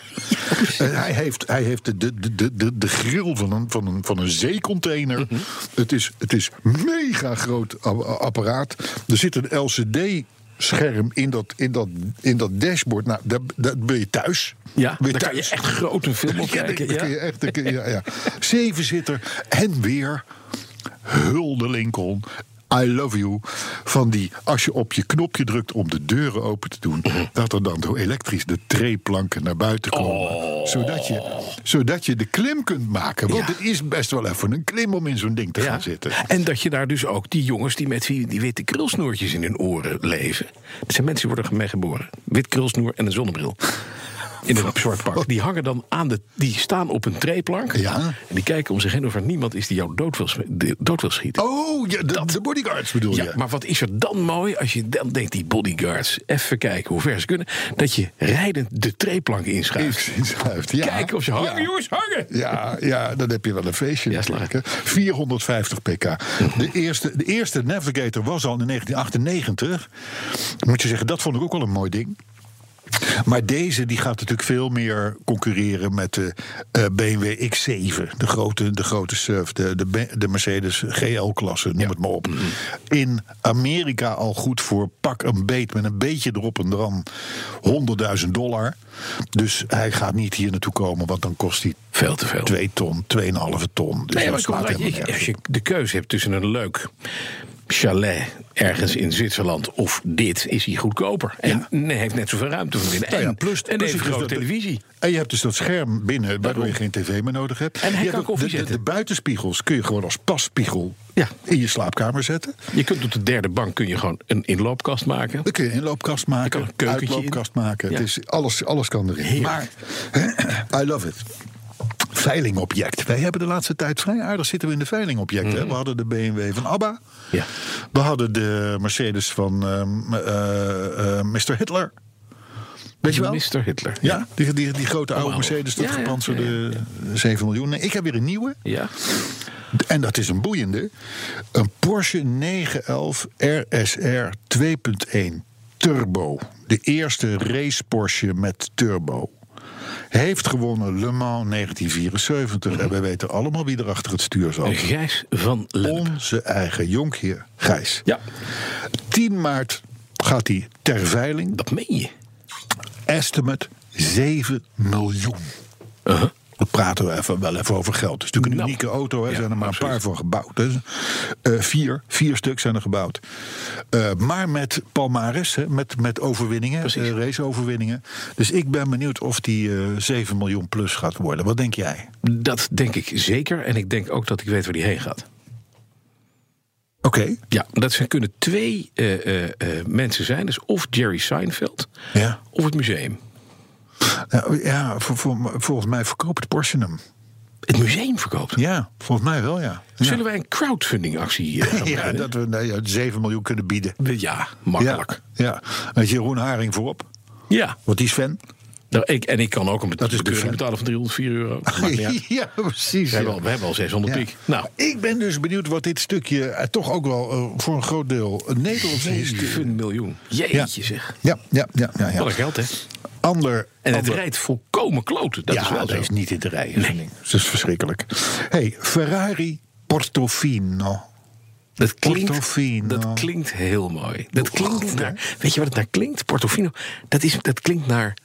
Speaker 2: En Eh, hij heeft, hij heeft de, de, de, de, de grill van een, van een, van een zeecontainer.
Speaker 3: Mhm.
Speaker 2: het, is, het is mega groot a- a- apparaat. Er zit een LCD-scherm in dat, in, dat, in dat dashboard. Nou, daar, daar ben je thuis.
Speaker 3: Ja,
Speaker 2: ben
Speaker 3: daar kan je echt groot een film op
Speaker 2: Ja, daar-
Speaker 3: kijken.
Speaker 2: daar kun je
Speaker 3: Ja.
Speaker 2: echt- daar kun je- ja, ja. Zeven zitter en weer hulde Lincoln. I love you. Van die, als je op je knopje drukt om de deuren open te doen,
Speaker 3: Mhm.
Speaker 2: dat er dan door elektrisch de treeplanken naar buiten komen. Zodat, je, zodat je de klim kunt maken. Want
Speaker 3: Oh. Ja.
Speaker 2: het is best wel even een klim om in zo'n ding te
Speaker 3: Ja.
Speaker 2: gaan zitten.
Speaker 3: En dat je daar dus ook die jongens die met die, die witte Dus krulsnoertjes in hun oren leven. Dat zijn mensen die worden mee geboren. Wit krulsnoer en een zonnebril. in een zwart pak. Die hangen dan aan de. Die staan op een treeplank.
Speaker 2: Ja.
Speaker 3: En die kijken om zich heen of er niemand is die jou dood wil, sm- de- dood wil schieten.
Speaker 2: Oh, ja, de, de bodyguards bedoel
Speaker 3: ja,
Speaker 2: je?
Speaker 3: maar wat is er dan mooi als je dan denkt, die bodyguards, even kijken hoe ver ze kunnen, dat je rijdend de treeplank inschuift.
Speaker 2: Eens- eens schuift, ja.
Speaker 3: Kijken of ze hangen,
Speaker 2: Ja.
Speaker 3: jongens, hangen!
Speaker 2: Ja, ja, dan heb je wel een feestje.
Speaker 3: Ja, slag.
Speaker 2: natuurlijk, hè. 450 pk. De eerste, de eerste Navigator was al in 1998. Moet je zeggen, dat vond ik ook wel een mooi ding. Maar deze die gaat natuurlijk veel meer concurreren met de eh, BMW X7. De grote, de grote SUV, de, de, Be- de Mercedes GL-klasse, noem het maar op. In Amerika al goed voor pak een beet met een beetje erop en dran 100.000 dollar. Dus hij gaat niet hier naartoe komen, want dan kost hij
Speaker 3: Veel te veel.
Speaker 2: 2 ton, 2,5
Speaker 3: Oh.
Speaker 2: ton. Dus
Speaker 3: Nee, maar
Speaker 2: dat
Speaker 3: het komt
Speaker 2: slaat
Speaker 3: eruit.
Speaker 2: helemaal
Speaker 3: Je- als
Speaker 2: nergens
Speaker 3: je
Speaker 2: op.
Speaker 3: de keuze hebt tussen een leuk chalet ergens in Zwitserland of dit, is hij goedkoper. En nee, heeft net zoveel ruimte voor binnen. En,
Speaker 2: Nou ja, plus-
Speaker 3: en
Speaker 2: plus
Speaker 3: heeft
Speaker 2: het is
Speaker 3: grote
Speaker 2: dat-
Speaker 3: televisie.
Speaker 2: En je hebt dus dat scherm binnen waardoor je geen tv meer nodig hebt.
Speaker 3: En hij
Speaker 2: Je
Speaker 3: kan
Speaker 2: hebt ook-
Speaker 3: koffie
Speaker 2: de, de,
Speaker 3: zetten.
Speaker 2: de buitenspiegels kun je gewoon als passpiegel
Speaker 3: Ja.
Speaker 2: in je slaapkamer zetten.
Speaker 3: Je kunt op de derde bank kun je gewoon een inloopkast maken.
Speaker 2: Dan kun je een inloopkast
Speaker 3: kan
Speaker 2: maken,
Speaker 3: een
Speaker 2: een
Speaker 3: keukentje in.
Speaker 2: uitloopkast maken.
Speaker 3: Ja.
Speaker 2: Het is, alles, alles kan erin. Maar, I love it. Veilingobject. Wij hebben de laatste tijd vrij aardig zitten we in de veilingobjecten. hè.
Speaker 3: Mhm.
Speaker 2: We hadden de BMW van ABBA.
Speaker 3: Ja.
Speaker 2: We hadden de Mercedes van ehm, eh, eh, Mr. Hitler. Weet je wel?
Speaker 3: Mr. Hitler.
Speaker 2: Ja, die, die, die grote oude
Speaker 3: Allemaal.
Speaker 2: Mercedes, dat
Speaker 3: Ja, ja,
Speaker 2: gepantserde
Speaker 3: ja,
Speaker 2: 7 miljoen. Nee, ik heb weer een nieuwe.
Speaker 3: Ja.
Speaker 2: En dat is een boeiende. Een Porsche 911 RSR 2.1 Turbo. De eerste race Porsche met turbo. Heeft gewonnen Le Mans 1974.
Speaker 3: Mhm.
Speaker 2: En wij weten allemaal wie er achter het stuur zat.
Speaker 3: Gijs van Lennep.
Speaker 2: Onze eigen jonkheer Gijs.
Speaker 3: Ja,
Speaker 2: 10 maart gaat hij ter veiling.
Speaker 3: dat meen je.
Speaker 2: Estimate 7 miljoen.
Speaker 3: Uh-huh.
Speaker 2: Dan praten we even, wel even over geld. Het is natuurlijk een
Speaker 3: Nou.
Speaker 2: unieke auto. Er
Speaker 3: Ja,
Speaker 2: zijn er maar
Speaker 3: absoluut.
Speaker 2: een paar van gebouwd. hè. Eh, vier, vier stuk zijn er gebouwd. Eh, maar met palmares, hè, met, met overwinningen,
Speaker 3: Precies.
Speaker 2: eh, raceoverwinningen. Dus ik ben benieuwd of die eh 7 miljoen plus gaat worden. Wat denk jij?
Speaker 3: Dat denk ik zeker. En ik denk ook dat ik weet waar die heen gaat.
Speaker 2: Oké.
Speaker 3: Ja, dat zijn, kunnen twee eh, eh, eh, mensen zijn. Dus of Jerry Seinfeld
Speaker 2: Ja.
Speaker 3: of het museum.
Speaker 2: Nou, ja, voor, voor- volgens mij verkoopt Porsche hem.
Speaker 3: Het museum verkoopt.
Speaker 2: Ja, volgens mij wel, ja. Ja.
Speaker 3: Zullen wij een crowdfundingactie eh, gaan
Speaker 2: Ja,
Speaker 3: beginnen?
Speaker 2: dat we nou ja, 7 miljoen kunnen bieden.
Speaker 3: Ja, makkelijk.
Speaker 2: Ja, ja. Met Jeroen Haring voorop.
Speaker 3: Ja.
Speaker 2: Want die is fan.
Speaker 3: Nou, ik, en ik kan ook een bet-
Speaker 2: Dat is
Speaker 3: bekeuring
Speaker 2: bekend.
Speaker 3: betalen van 304 euro. Dat maakt niet uit.
Speaker 2: ja, precies.
Speaker 3: We, hebben
Speaker 2: ja.
Speaker 3: al, we hebben al 600 piek. Nou,
Speaker 2: Ik ben dus benieuwd wat dit stukje eh, toch ook wel eh, voor een groot deel een Nederlands is.
Speaker 3: 7 miljoen.
Speaker 2: Ja.
Speaker 3: Jeetje zeg.
Speaker 2: Ja, ja, ja, ja. ja.
Speaker 3: Wat een geld, hè?
Speaker 2: Ander.
Speaker 3: En het
Speaker 2: ander-
Speaker 3: rijdt volkomen kloten. Dat
Speaker 2: ja,
Speaker 3: is wel zo.
Speaker 2: dat is niet in te rijden.
Speaker 3: Nee.
Speaker 2: Nee. Dat is verschrikkelijk. hey, Ferrari Portofino.
Speaker 3: Dat klinkt,
Speaker 2: Portofino.
Speaker 3: dat klinkt heel mooi. Dat klinkt
Speaker 2: goed,
Speaker 3: naar, weet je wat het naar klinkt? Portofino. Dat, is, dat klinkt naar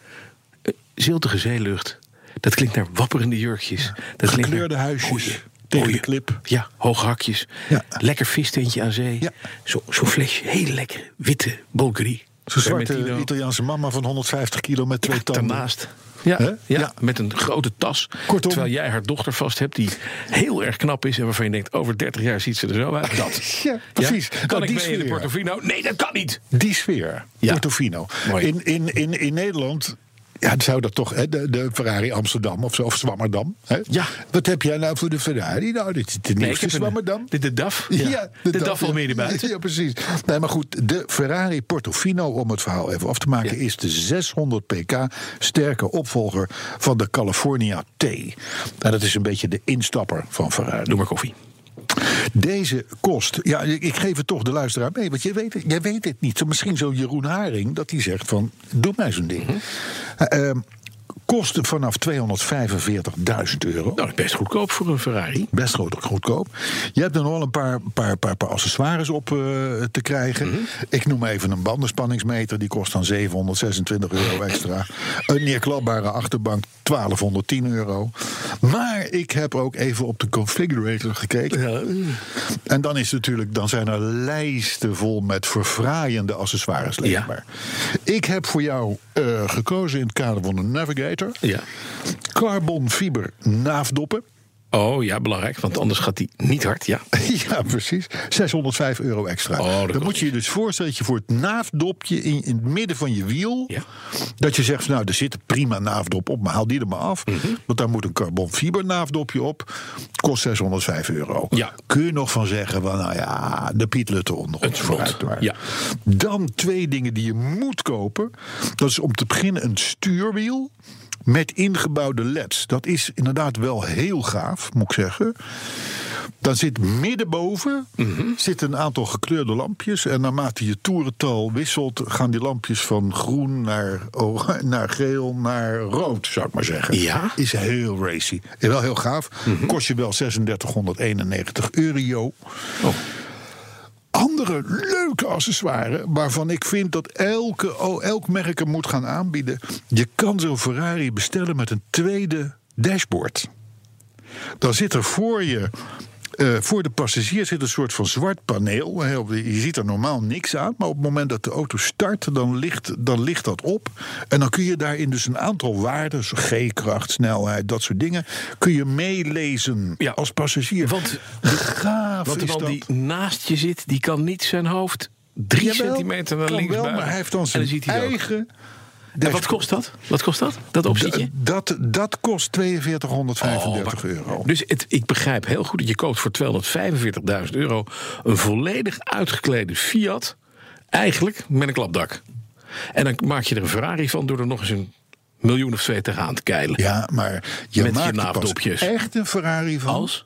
Speaker 3: eh, ziltige zeelucht. Dat klinkt naar wapperende jurkjes. Dat klinkt
Speaker 2: Gekleurde
Speaker 3: naar
Speaker 2: huisjes
Speaker 3: goeie-
Speaker 2: tegen
Speaker 3: goeie-
Speaker 2: de klip.
Speaker 3: Ja, hoge hakjes.
Speaker 2: Ja.
Speaker 3: Lekker visteentje aan zee.
Speaker 2: Ja.
Speaker 3: Zo- Zo'n flesje, hele lekkere witte Bulgari.
Speaker 2: Zo'n zwarte
Speaker 3: Vermentino.
Speaker 2: Italiaanse mama van 150 kilo met twee tanden.
Speaker 3: Daarnaast. Ja,
Speaker 2: Hè?
Speaker 3: ja,
Speaker 2: Ja.
Speaker 3: met een grote tas.
Speaker 2: Kortom.
Speaker 3: Terwijl jij haar dochter vast hebt die heel erg knap is... en waarvan je denkt, over 30 jaar ziet ze er zo uit. Dat.
Speaker 2: Ja, precies.
Speaker 3: Kan
Speaker 2: Nou,
Speaker 3: ik
Speaker 2: die
Speaker 3: mee in de
Speaker 2: sfeer.
Speaker 3: Portofino? Nee, dat kan niet.
Speaker 2: Die sfeer,
Speaker 3: Ja.
Speaker 2: Portofino.
Speaker 3: Mooi.
Speaker 2: In, in, in, in Nederland ja, zou dat toch, hè, de, de Ferrari Amsterdam of, zo, of Zwammerdam. Hè?
Speaker 3: Ja.
Speaker 2: Wat heb jij nou voor de Ferrari? Nou, dit is de
Speaker 3: ik
Speaker 2: nieuwste
Speaker 3: heb een-
Speaker 2: Zwammerdam.
Speaker 3: de- de DAF. Ja, de DAF
Speaker 2: ja.
Speaker 3: Almere buiten.
Speaker 2: Ja, precies. Nee, maar goed, de Ferrari Portofino, om het verhaal even af te maken,
Speaker 3: Ja.
Speaker 2: is de 600 pk sterke opvolger van de California T. Nou, dat is een beetje de instapper van Ferrari.
Speaker 3: Eh, Doe maar koffie. Nou,
Speaker 2: Deze kost. Ja, ik ik geef het toch de luisteraar mee. Want jij weet het, jij weet het niet. Zo Misschien zo Jeroen Haring dat hij zegt van... doe mij zo'n ding. Eh, ehm, kosten vanaf 245.000 euro.
Speaker 3: Nou, dat is best goedkoop voor een Ferrari.
Speaker 2: Best goed, goedkoop. Je hebt er nog wel een paar, paar, paar, paar accessoires op eh, te krijgen. Ik noem even een bandenspanningsmeter. Die kost dan 726 euro extra. Een neerklapbare achterbank 1210 euro. Maar ik heb ook even op de configurator gekeken. En dan, is natuurlijk, dan zijn er lijsten vol met verfraaiende accessoires leesbaar. Ik heb voor jou eh, gekozen in het kader van de Navigator.
Speaker 3: Ja.
Speaker 2: Carbon fiber naafdoppen.
Speaker 3: Oh ja, belangrijk, want anders gaat die niet hard. Ja.
Speaker 2: Ja, precies. 605 euro extra.
Speaker 3: Oh, dat kost
Speaker 2: dan moet je je dus voorstellen dat je voor het naafdopje in, in het midden van je wiel...
Speaker 3: Ja.
Speaker 2: dat je zegt, van, nou, er zit een prima naafdop op, maar haal die er maar af.
Speaker 3: Mhm.
Speaker 2: Want daar moet een carbonfiber naafdopje op. Kost 605 euro.
Speaker 3: Ja.
Speaker 2: Kun je nog van zeggen, van, nou ja, de Piet Lutte nog
Speaker 3: Het
Speaker 2: vooruit.
Speaker 3: vlot,
Speaker 2: maar.
Speaker 3: ja.
Speaker 2: Dan twee dingen die je moet kopen. Dat is om te beginnen een stuurwiel... Met ingebouwde leds. Dat is inderdaad wel heel gaaf, moet ik zeggen. Dan zit middenboven zit een aantal gekleurde lampjes. En naarmate je toerental wisselt, gaan die lampjes van groen naar, oranje, naar geel naar rood, zou ik maar zeggen.
Speaker 3: Ja.
Speaker 2: Is heel racy. En wel heel gaaf. Kost je wel 3691 euro. Andere leuke accessoires waarvan ik vind dat elke, oh, elk merk hem moet gaan aanbieden. Je kan zo'n Ferrari bestellen met een tweede dashboard dan zit er voor je. eh, voor de passagier zit een soort van zwart paneel. Hè, op de- Je ziet er normaal niks aan. Maar op het moment dat de auto start, dan ligt, dan ligt dat op. En dan kun je daarin dus een aantal waarden, zoals G-kracht, snelheid, dat soort dingen. kun je meelezen
Speaker 3: Ja.
Speaker 2: als passagier.
Speaker 3: Want-
Speaker 2: gaaf
Speaker 3: Want de
Speaker 2: is
Speaker 3: man
Speaker 2: dat.
Speaker 3: die naast je zit, die kan niet zijn hoofd drie
Speaker 2: Jawel,
Speaker 3: centimeter naar
Speaker 2: kan
Speaker 3: links
Speaker 2: wel,
Speaker 3: buigen.
Speaker 2: maar hij heeft dan
Speaker 3: en
Speaker 2: zijn
Speaker 3: dan ziet hij het ook.
Speaker 2: eigen.
Speaker 3: En wat kost dat? Wat kost dat? Dat opzietje?
Speaker 2: dat, dat kost
Speaker 3: Oh,
Speaker 2: 4235
Speaker 3: maar-
Speaker 2: euro.
Speaker 3: Dus het, ik begrijp heel goed dat je koopt voor 245.000 euro een volledig uitgeklede Fiat, eigenlijk met een klapdak. En dan maak je er een Ferrari van door er nog eens een miljoen of twee tegenaan te keilen.
Speaker 2: Ja, maar je
Speaker 3: Met je
Speaker 2: maakt er pas
Speaker 3: naafdopjes.
Speaker 2: echt een Ferrari van.
Speaker 3: Als?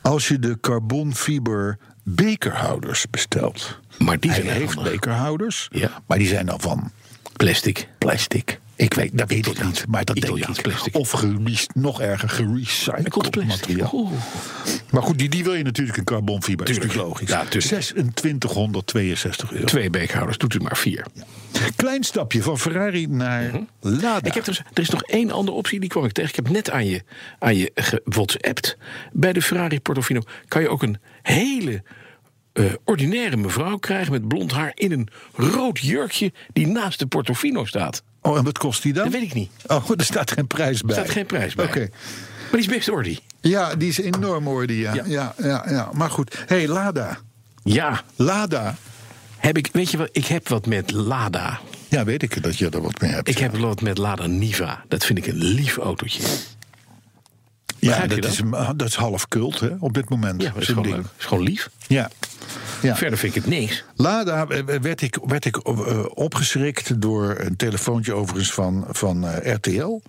Speaker 2: Als je de carbonfiber bekerhouders bestelt.
Speaker 3: Maar die
Speaker 2: Hij
Speaker 3: zijn heel
Speaker 2: heeft
Speaker 3: handig.
Speaker 2: bekerhouders,
Speaker 3: Ja.
Speaker 2: maar die zijn dan van
Speaker 3: Plastic. Plastic.
Speaker 2: ik weet, dat weet ik
Speaker 3: Italiaans.
Speaker 2: niet, maar dat
Speaker 3: Italiaans
Speaker 2: denk ik.
Speaker 3: plastic.
Speaker 2: Of geres- nog erger,
Speaker 3: Komt
Speaker 2: gerecycled
Speaker 3: plastic.
Speaker 2: materiaal.
Speaker 3: Oeh.
Speaker 2: Maar goed, die, die wil je natuurlijk in carbonfiber. Dat is
Speaker 3: Tuurlijk.
Speaker 2: natuurlijk logisch.
Speaker 3: Ja, tuurlijk.
Speaker 2: 2662 euro.
Speaker 3: Twee beekhouders, doet u maar vier.
Speaker 2: Klein stapje van Ferrari naar Lada.
Speaker 3: Mhm. Ik heb dus, er is nog één andere optie, die kwam ik tegen. Ik heb net aan je, aan je gewhatsappt. Bij de Ferrari Portofino kan je ook een hele eh, ordinaire mevrouw krijgen... met blond haar in een rood jurkje die naast de Portofino staat.
Speaker 2: Oh, en wat kost die dan?
Speaker 3: Dat weet ik niet.
Speaker 2: Oh, er staat geen prijs bij.
Speaker 3: Er staat geen prijs bij.
Speaker 2: Oké.
Speaker 3: Maar die is best ordy.
Speaker 2: Ja, die is enorm hoor, die. Ja.
Speaker 3: Ja.
Speaker 2: Ja. Ja, ja, Maar goed, hey, Lada.
Speaker 3: Ja,
Speaker 2: Lada.
Speaker 3: heb ik, weet je wat, ik heb wat met Lada.
Speaker 2: Ja, weet ik dat je er wat mee hebt.
Speaker 3: Ik heb wat met Lada Niva. Dat vind ik een lief autootje.
Speaker 2: ja,
Speaker 3: begrijp je
Speaker 2: dat
Speaker 3: dat?
Speaker 2: is, een- ah, dat is half cult hè, op dit moment.
Speaker 3: Ja, dat is
Speaker 2: Zo'n
Speaker 3: gewoon
Speaker 2: ding.
Speaker 3: leuk. Dat is gewoon lief.
Speaker 2: Ja. ja.
Speaker 3: Verder vind ik het niks.
Speaker 2: Lada eh, werd ik, werd ik eh, opgeschrikt door een telefoontje overigens van, van eh, RTL.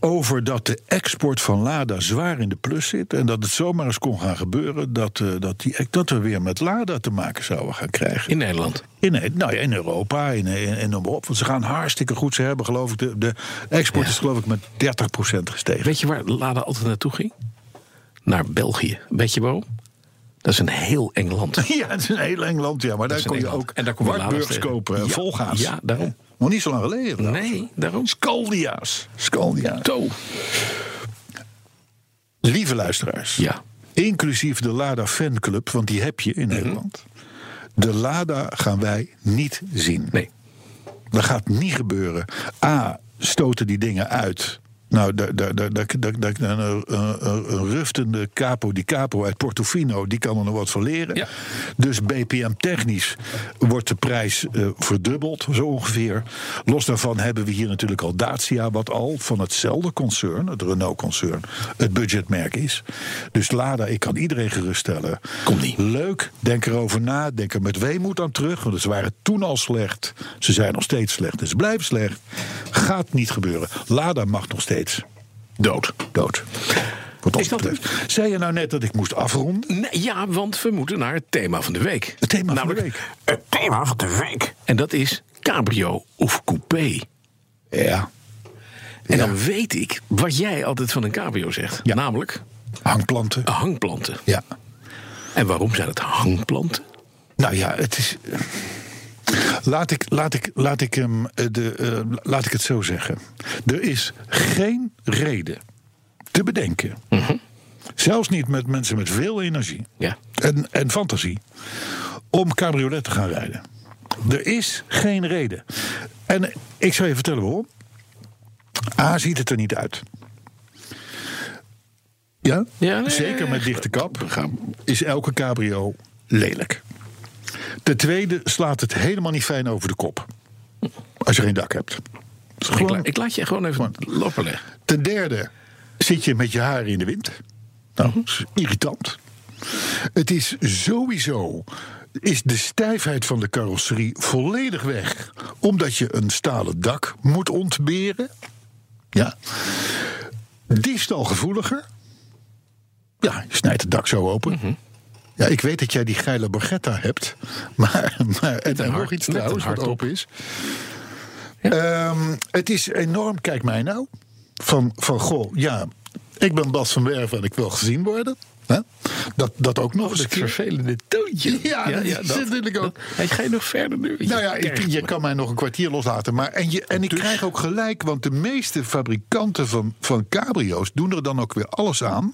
Speaker 2: Over dat de export van Lada zwaar in de plus zit. En dat het zomaar eens kon gaan gebeuren dat, eh, dat, die, dat we weer met Lada te maken zouden gaan krijgen.
Speaker 3: In Nederland.
Speaker 2: In, nou ja, in Europa en in, in, noem maar op. Want ze gaan hartstikke goed. Ze hebben geloof ik, de, de export is geloof ik met 30% gestegen.
Speaker 3: Weet je waar Lada altijd naartoe ging? Naar België. Weet je waarom? Dat is een heel eng land.
Speaker 2: Ja, het is een heel eng land, ja. Maar daar
Speaker 3: is
Speaker 2: kon
Speaker 3: een
Speaker 2: je
Speaker 3: eng land.
Speaker 2: ook
Speaker 3: En daar kon je
Speaker 2: Wartburgs
Speaker 3: laders tegen.
Speaker 2: kopen, eh,
Speaker 3: Ja,
Speaker 2: ja, volgaans.
Speaker 3: ja, daarom.
Speaker 2: Nog niet zo lang geleden. trouwens.
Speaker 3: Nee, daarom.
Speaker 2: Scandia's. Scandia's.
Speaker 3: Zo.
Speaker 2: Lieve luisteraars.
Speaker 3: Ja.
Speaker 2: Inclusief de Lada fanclub, want die heb je in
Speaker 3: Mhm.
Speaker 2: Nederland. De Lada gaan wij niet zien.
Speaker 3: Nee.
Speaker 2: Dat gaat niet gebeuren. A, stoten die dingen uit. Nou, daar- daar- daar- daar- daar- daar- daar- een, een, een- een ruftende capo die capo uit Portofino, die kan er nog wat van leren.
Speaker 3: Ja.
Speaker 2: Dus BPM technisch wordt de prijs eh, verdubbeld, zo ongeveer. Los daarvan hebben we hier natuurlijk al Dacia, wat al van hetzelfde concern, het Renault-concern, het budgetmerk is. Dus Lada, ik kan iedereen geruststellen.
Speaker 3: Komt niet.
Speaker 2: Leuk, denk erover na, denk er met weemoed aan terug. Want ze waren toen al slecht, ze zijn nog steeds slecht en ze blijven slecht. Gaat niet gebeuren. Lada mag nog steeds. Dood. Dood. Wat ons
Speaker 3: Is dat
Speaker 2: betreft. Zei je nou net dat ik moest afronden?
Speaker 3: Nee, ja, want we moeten naar het thema van de week.
Speaker 2: Het thema van de
Speaker 3: Namelijk Het thema van de week. En dat is cabrio of coupé.
Speaker 2: Ja.
Speaker 3: En
Speaker 2: Ja.
Speaker 3: dan weet ik wat jij altijd van een cabrio zegt.
Speaker 2: Ja.
Speaker 3: Namelijk
Speaker 2: Hangplanten.
Speaker 3: hangplanten.
Speaker 2: Ja.
Speaker 3: En waarom zijn het hangplanten?
Speaker 2: Nou ja, het is. Laat ik, laat ik, laat ik, hem, eh, de, eh, laat ik het zo zeggen. Er is geen reden te bedenken. Zelfs niet met mensen met veel energie
Speaker 3: Mhm. Ja.
Speaker 2: en, en fantasie. om cabriolet te gaan rijden. Er is geen reden. En ik zal je vertellen waarom. A ziet het er niet uit. Ja?
Speaker 3: Ja, nee,
Speaker 2: Zeker met dichte
Speaker 3: we
Speaker 2: kap
Speaker 3: gaan-
Speaker 2: is elke cabrio lelijk. Ten tweede slaat het helemaal niet fijn over de kop. Als je geen dak hebt. Het is
Speaker 3: Ik,
Speaker 2: gewoon-
Speaker 3: la- ik laat je gewoon even
Speaker 2: Gewoon.
Speaker 3: lopen leggen.
Speaker 2: Ten derde zit je met je haren in de wind. Nou,
Speaker 3: Mhm.
Speaker 2: dat is irritant. Het is sowieso is de stijfheid van de carrosserie volledig weg, omdat je een stalen dak moet ontberen. Ja. Diefstalgevoeliger. Ja, je snijdt het dak zo open.
Speaker 3: Mhm.
Speaker 2: Ja, ik weet dat jij die geile Borgetta hebt. Maar, maar en
Speaker 3: een
Speaker 2: nog
Speaker 3: hard-
Speaker 2: iets
Speaker 3: met een
Speaker 2: trouwens wat
Speaker 3: hardtop.
Speaker 2: open is. Ehm, het is enorm, kijk mij nou. Van, van goh, ja, ik ben Bas van Werven en ik wil gezien worden. Hè? Dat, dat ook nog eens een
Speaker 3: Het
Speaker 2: keer.
Speaker 3: vervelende toontje.
Speaker 2: Ja, dat is natuurlijk ook.
Speaker 3: Hij ga je Dus- nog verder nu.
Speaker 2: Nou ja, ik, je kan mij nog een kwartier loslaten. Maar, en, je, en ik krijg ook gelijk, want de meeste fabrikanten van, van cabrio's doen er dan ook weer alles aan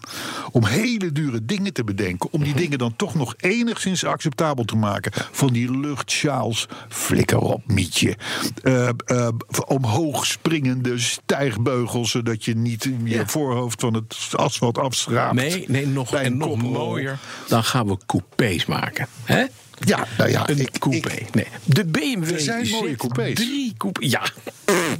Speaker 2: om hele dure dingen te bedenken. Om
Speaker 3: Mhm.
Speaker 2: die dingen dan toch nog enigszins acceptabel te maken. Van die luchtsjaals, flikker op, mietje. Eh, eh, omhoog springende stijgbeugels, zodat je niet je voorhoofd van het asfalt afschraapt.
Speaker 3: Nee, nee, nog,
Speaker 2: Bij een
Speaker 3: en nog
Speaker 2: koprol.
Speaker 3: mooier. Dan gaan we coupés maken. hè?
Speaker 2: Ja, nou ja,
Speaker 3: een
Speaker 2: ik-
Speaker 3: coupé.
Speaker 2: ik-
Speaker 3: nee. De BMW
Speaker 2: Er zijn mooie
Speaker 3: zit
Speaker 2: coupés.
Speaker 3: Drie coupés. Ja,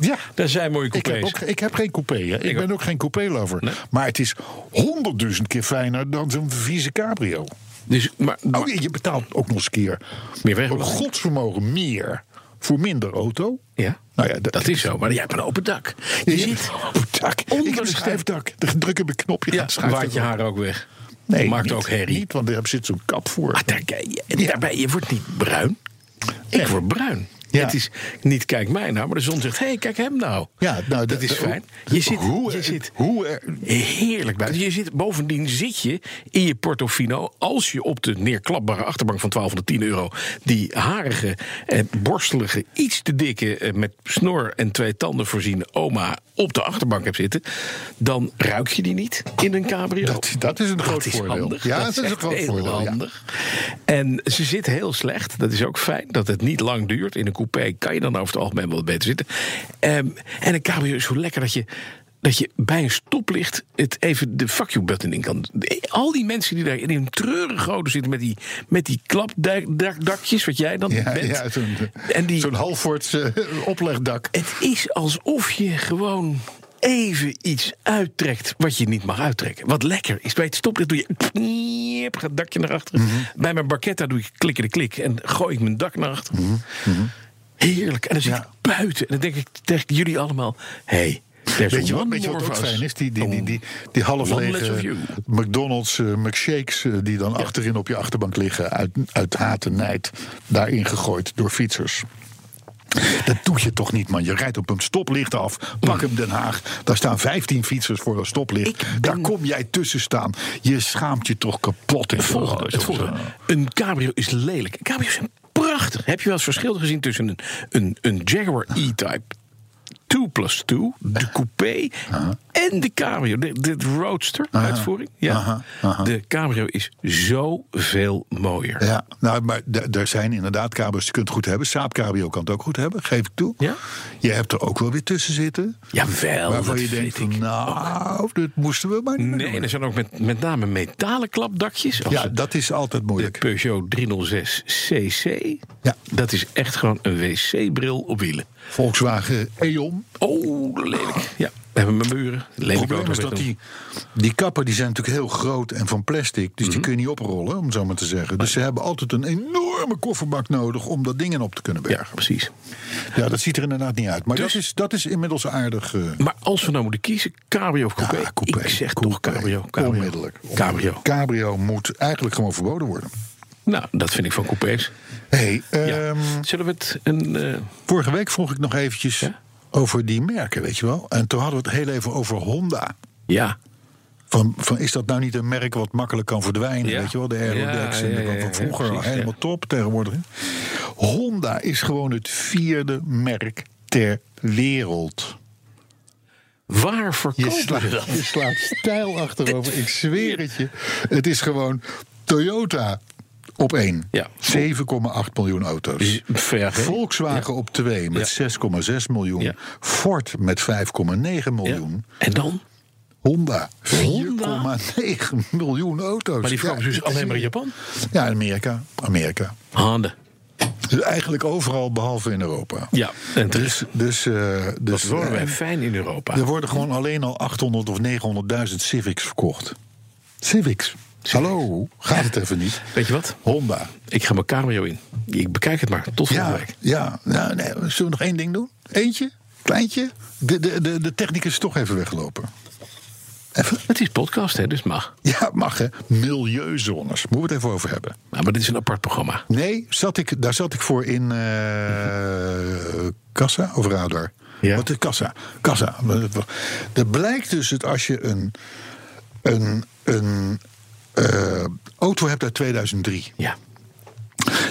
Speaker 2: ja.
Speaker 3: daar zijn mooie
Speaker 2: Ik
Speaker 3: coupés.
Speaker 2: heb, ook, ik heb geen coupé. Hè. Ik, ben ook geen coupé-lover.
Speaker 3: Nee.
Speaker 2: Maar het is honderdduizend keer fijner dan zo'n vieze cabrio.
Speaker 3: Dus, maar, maar-
Speaker 2: Oh, je betaalt ook nog eens een keer
Speaker 3: Meer weg-
Speaker 2: een godsvermogen meer voor minder auto.
Speaker 3: ja,
Speaker 2: Nou ja,
Speaker 3: dat is zo. Maar jij hebt een open dak. Je
Speaker 2: Je
Speaker 3: zit
Speaker 2: zit op dak.
Speaker 3: onder
Speaker 2: ik heb
Speaker 3: de
Speaker 2: een
Speaker 3: stem.
Speaker 2: schuifdak. Dan druk ik op een knopje.
Speaker 3: Ja,
Speaker 2: gaat schuift
Speaker 3: waait je
Speaker 2: het
Speaker 3: haar ook weg.
Speaker 2: op. Nee,
Speaker 3: Maakt
Speaker 2: niet,
Speaker 3: ook herrie.
Speaker 2: Niet, want daar zit zo'n kap voor.
Speaker 3: Maar Ah, daar, en daarbij, je wordt niet bruin. Ik
Speaker 2: Nee.
Speaker 3: word bruin.
Speaker 2: Ja.
Speaker 3: Het is niet kijk mij nou, maar de zon zegt: hé, hey, kijk hem nou.
Speaker 2: Ja, nou,
Speaker 3: dat
Speaker 2: de-
Speaker 3: is
Speaker 2: de-
Speaker 3: fijn.
Speaker 2: de-
Speaker 3: Je zit,
Speaker 2: hoe-
Speaker 3: je zit
Speaker 2: hoe er-
Speaker 3: heerlijk buiten. Je zit, bovendien zit je in je Portofino, als je op de neerklapbare achterbank van 12 tot 10 euro, die harige, eh, borstelige, iets te dikke, eh, met snor en twee tanden voorziene oma op de achterbank hebt zitten, dan ruik je die niet in een cabrio.
Speaker 2: Dat- dat is een groot
Speaker 3: is
Speaker 2: voordeel.
Speaker 3: handig.
Speaker 2: Ja, dat is
Speaker 3: echt
Speaker 2: een groot
Speaker 3: heel
Speaker 2: voordeel, ja.
Speaker 3: handig. En ze zit heel slecht. Dat is ook fijn dat het niet lang duurt. In een coupé kan je dan over het algemeen wel beter zitten. Ehm, en een cabrio is zo lekker dat je. Dat je bij een stoplicht het even de fuck you button in kan. Al die mensen die daar in hun treurige goden zitten met die, met die klapdakjes, wat jij dan
Speaker 2: Ja,
Speaker 3: bent.
Speaker 2: ja, zo'n
Speaker 3: en die,
Speaker 2: zo'n Halfords eh, oplegdak.
Speaker 3: het is alsof je gewoon even iets uittrekt wat je niet mag uittrekken. Wat lekker is. Bij het stoplicht doe je... Kniep, gaat het dakje naar achteren.
Speaker 2: Mhm.
Speaker 3: Bij mijn barketta doe ik klikken de klik en gooi ik mijn dak naar achteren. Heerlijk. En dan zit
Speaker 2: Mhm. Ja.
Speaker 3: ik buiten. En dan denk ik tegen jullie allemaal... Hé, hey, there's
Speaker 2: Weet je wat,
Speaker 3: one
Speaker 2: weet je wat
Speaker 3: more
Speaker 2: ook
Speaker 3: of us.
Speaker 2: fijn is? Die, die, die, die, die half
Speaker 3: One less of you.
Speaker 2: lege McDonald's eh, McShakes... eh, die dan achterin op je achterbank liggen... uit, uit haat en nijd daarin gegooid door fietsers. Dat doe je toch niet, man. Je rijdt op een stoplicht af. Pak
Speaker 3: Mm.
Speaker 2: hem Den Haag. Daar staan 15 fietsers voor een stoplicht. Daar kom jij tussen staan. Je schaamt je toch kapot. in
Speaker 3: Het volgende, het volgende. Een cabrio is lelijk. Cabrio's zijn prachtig. Heb je wel eens verschil gezien tussen een, een, een Jaguar E-Type 2 plus 2, de coupé en de cabrio, de, de roadster uitvoering? Ja.
Speaker 2: aha, aha.
Speaker 3: De cabrio is zoveel mooier.
Speaker 2: Ja, nou, maar d- er zijn inderdaad kabels, die kunt het goed hebben. Saab cabrio kan het ook goed hebben, geef ik toe.
Speaker 3: Ja?
Speaker 2: Je hebt er ook wel weer tussen zitten.
Speaker 3: Jawel,
Speaker 2: waarvan
Speaker 3: dat
Speaker 2: je denkt,
Speaker 3: weet ik
Speaker 2: nou, dit moesten we maar niet meer
Speaker 3: Nee,
Speaker 2: doen.
Speaker 3: en er zijn ook met, met name metalen klapdakjes. Als
Speaker 2: Ja,
Speaker 3: het-
Speaker 2: dat is altijd
Speaker 3: de
Speaker 2: moeilijk.
Speaker 3: Peugeot 306 CC.
Speaker 2: Ja.
Speaker 3: Dat is echt gewoon een wc-bril op wielen.
Speaker 2: Volkswagen E.ON.
Speaker 3: Oh, lelijk. Ja, we hebben mijn buren. Lelijk
Speaker 2: Het probleem
Speaker 3: auto
Speaker 2: is dat
Speaker 3: met een-
Speaker 2: die, die kappen die zijn natuurlijk heel groot en van plastic. Dus
Speaker 3: Mhm.
Speaker 2: die kun je niet oprollen, om het zo maar te zeggen. Dus ze hebben altijd een enorme kofferbak nodig om dat ding in op te kunnen
Speaker 3: Ja, Dus-
Speaker 2: bergen.
Speaker 3: precies.
Speaker 2: Ja, dat ziet er inderdaad niet uit. Maar dat, is, dat is inmiddels aardig. eh,
Speaker 3: Maar als we nou moeten kiezen, cabrio of coupé?
Speaker 2: Ja, Ah, coupé.
Speaker 3: Ik zeg
Speaker 2: Coupé.
Speaker 3: toch cabrio. cabrio.
Speaker 2: Onmiddellijk.
Speaker 3: Cabrio.
Speaker 2: Cabrio moet eigenlijk gewoon verboden worden.
Speaker 3: Nou, dat vind ik van coupés.
Speaker 2: Hey,
Speaker 3: Ja.
Speaker 2: ehm,
Speaker 3: Zullen we het een... eh,
Speaker 2: vorige week vroeg ik nog eventjes over die merken, weet je wel. En toen hadden we het heel even over Honda.
Speaker 3: ja.
Speaker 2: Van, van, is dat nou niet een merk wat makkelijk kan verdwijnen?
Speaker 3: Ja.
Speaker 2: Weet je wel, de Aerodex
Speaker 3: Ja,
Speaker 2: en
Speaker 3: ja,
Speaker 2: de-
Speaker 3: ja, ja,
Speaker 2: van vroeger
Speaker 3: precies,
Speaker 2: helemaal
Speaker 3: ja.
Speaker 2: top tegenwoordig. Honda is gewoon het vierde merk ter wereld.
Speaker 3: Waar verkopen
Speaker 2: Je
Speaker 3: we dat?
Speaker 2: slaat, je slaat stijl achterover. Ik zweer het je. Het is gewoon Toyota op één.
Speaker 3: Ja.
Speaker 2: 7,8 miljoen auto's.
Speaker 3: Z- ver, hè?
Speaker 2: Volkswagen op twee met 6,6 miljoen.
Speaker 3: Ja.
Speaker 2: Ford met 5,9 miljoen.
Speaker 3: En dan?
Speaker 2: Honda.
Speaker 3: Honda?
Speaker 2: 4,9 miljoen auto's.
Speaker 3: Maar die verkopen
Speaker 2: Ja,
Speaker 3: dus alleen maar in Japan?
Speaker 2: Ja, in Amerika. Amerika.
Speaker 3: Handen.
Speaker 2: Dus eigenlijk overal behalve in Europa.
Speaker 3: Ja, en
Speaker 2: Dus,
Speaker 3: dus,
Speaker 2: dus, eh,
Speaker 3: dat
Speaker 2: dus
Speaker 3: wonen wij
Speaker 2: eh,
Speaker 3: fijn in Europa.
Speaker 2: er worden gewoon alleen al 800 of 900.000 Civics verkocht. Civics. Hallo, gaat het even niet?
Speaker 3: Weet je wat?
Speaker 2: Honda.
Speaker 3: Ik ga mijn cameo in. Ik bekijk het maar. Tot volgende
Speaker 2: Ja,
Speaker 3: week.
Speaker 2: ja. Nou, nee, zullen we nog één ding doen? Eentje? Kleintje? De, de, de, de technicus is toch even weglopen. Even.
Speaker 3: Het is podcast, hè, dus mag.
Speaker 2: Ja, mag hè. Milieuzones. Moeten we het even over hebben.
Speaker 3: Nou, maar dit is een apart programma.
Speaker 2: Nee, zat ik, daar zat ik voor in eh, Kassa of Radar?
Speaker 3: Ja.
Speaker 2: Wat is Kassa? Kassa. Er blijkt dus dat als je een, een, een eh, auto hebt uit 2003...
Speaker 3: Ja.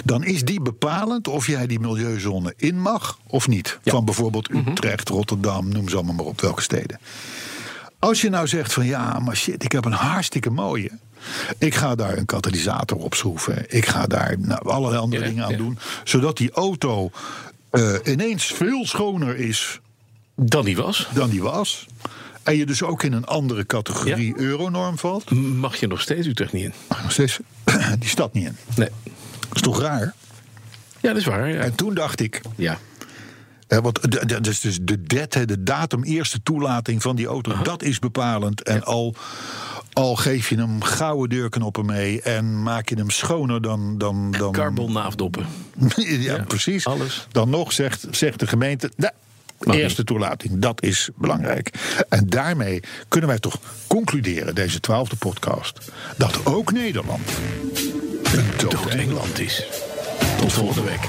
Speaker 2: dan is die bepalend of jij die milieuzone in mag of niet. Van bijvoorbeeld
Speaker 3: Mhm.
Speaker 2: Utrecht, Rotterdam, noem ze allemaal maar op welke steden. Als je nou zegt van ja, maar shit, ik heb een hartstikke mooie. Ik ga daar een katalysator op schroeven. Ik ga daar nou, allerlei andere
Speaker 3: Ja,
Speaker 2: dingen aan
Speaker 3: ja.
Speaker 2: doen. Zodat die auto eh, ineens veel schoner is
Speaker 3: Dan die was.
Speaker 2: dan die was. En je dus ook in een andere categorie euronorm valt.
Speaker 3: Mag je nog steeds Utrecht niet in?
Speaker 2: Mag je nog steeds die stad niet in.
Speaker 3: Nee.
Speaker 2: Dat is toch raar?
Speaker 3: Ja, dat is waar. Ja.
Speaker 2: En toen dacht ik,
Speaker 3: ja.
Speaker 2: Hè, want de- de- dus, dus de dead, hè, de datum eerste toelating van die auto, dat is bepalend. En al, al geef je hem gouden deurknoppen mee en maak je hem schoner dan. dan, dan
Speaker 3: Carbon naafdoppen.
Speaker 2: ja, precies.
Speaker 3: alles.
Speaker 2: Dan nog zegt, zegt de gemeente. "Nou,
Speaker 3: Mag
Speaker 2: eerste toelating, dat is belangrijk. En daarmee kunnen wij toch concluderen, deze twaalfde podcast, dat ook Nederland een dood
Speaker 3: Dood
Speaker 2: Engeland
Speaker 3: Engeland is.
Speaker 2: is. Tot volgende week.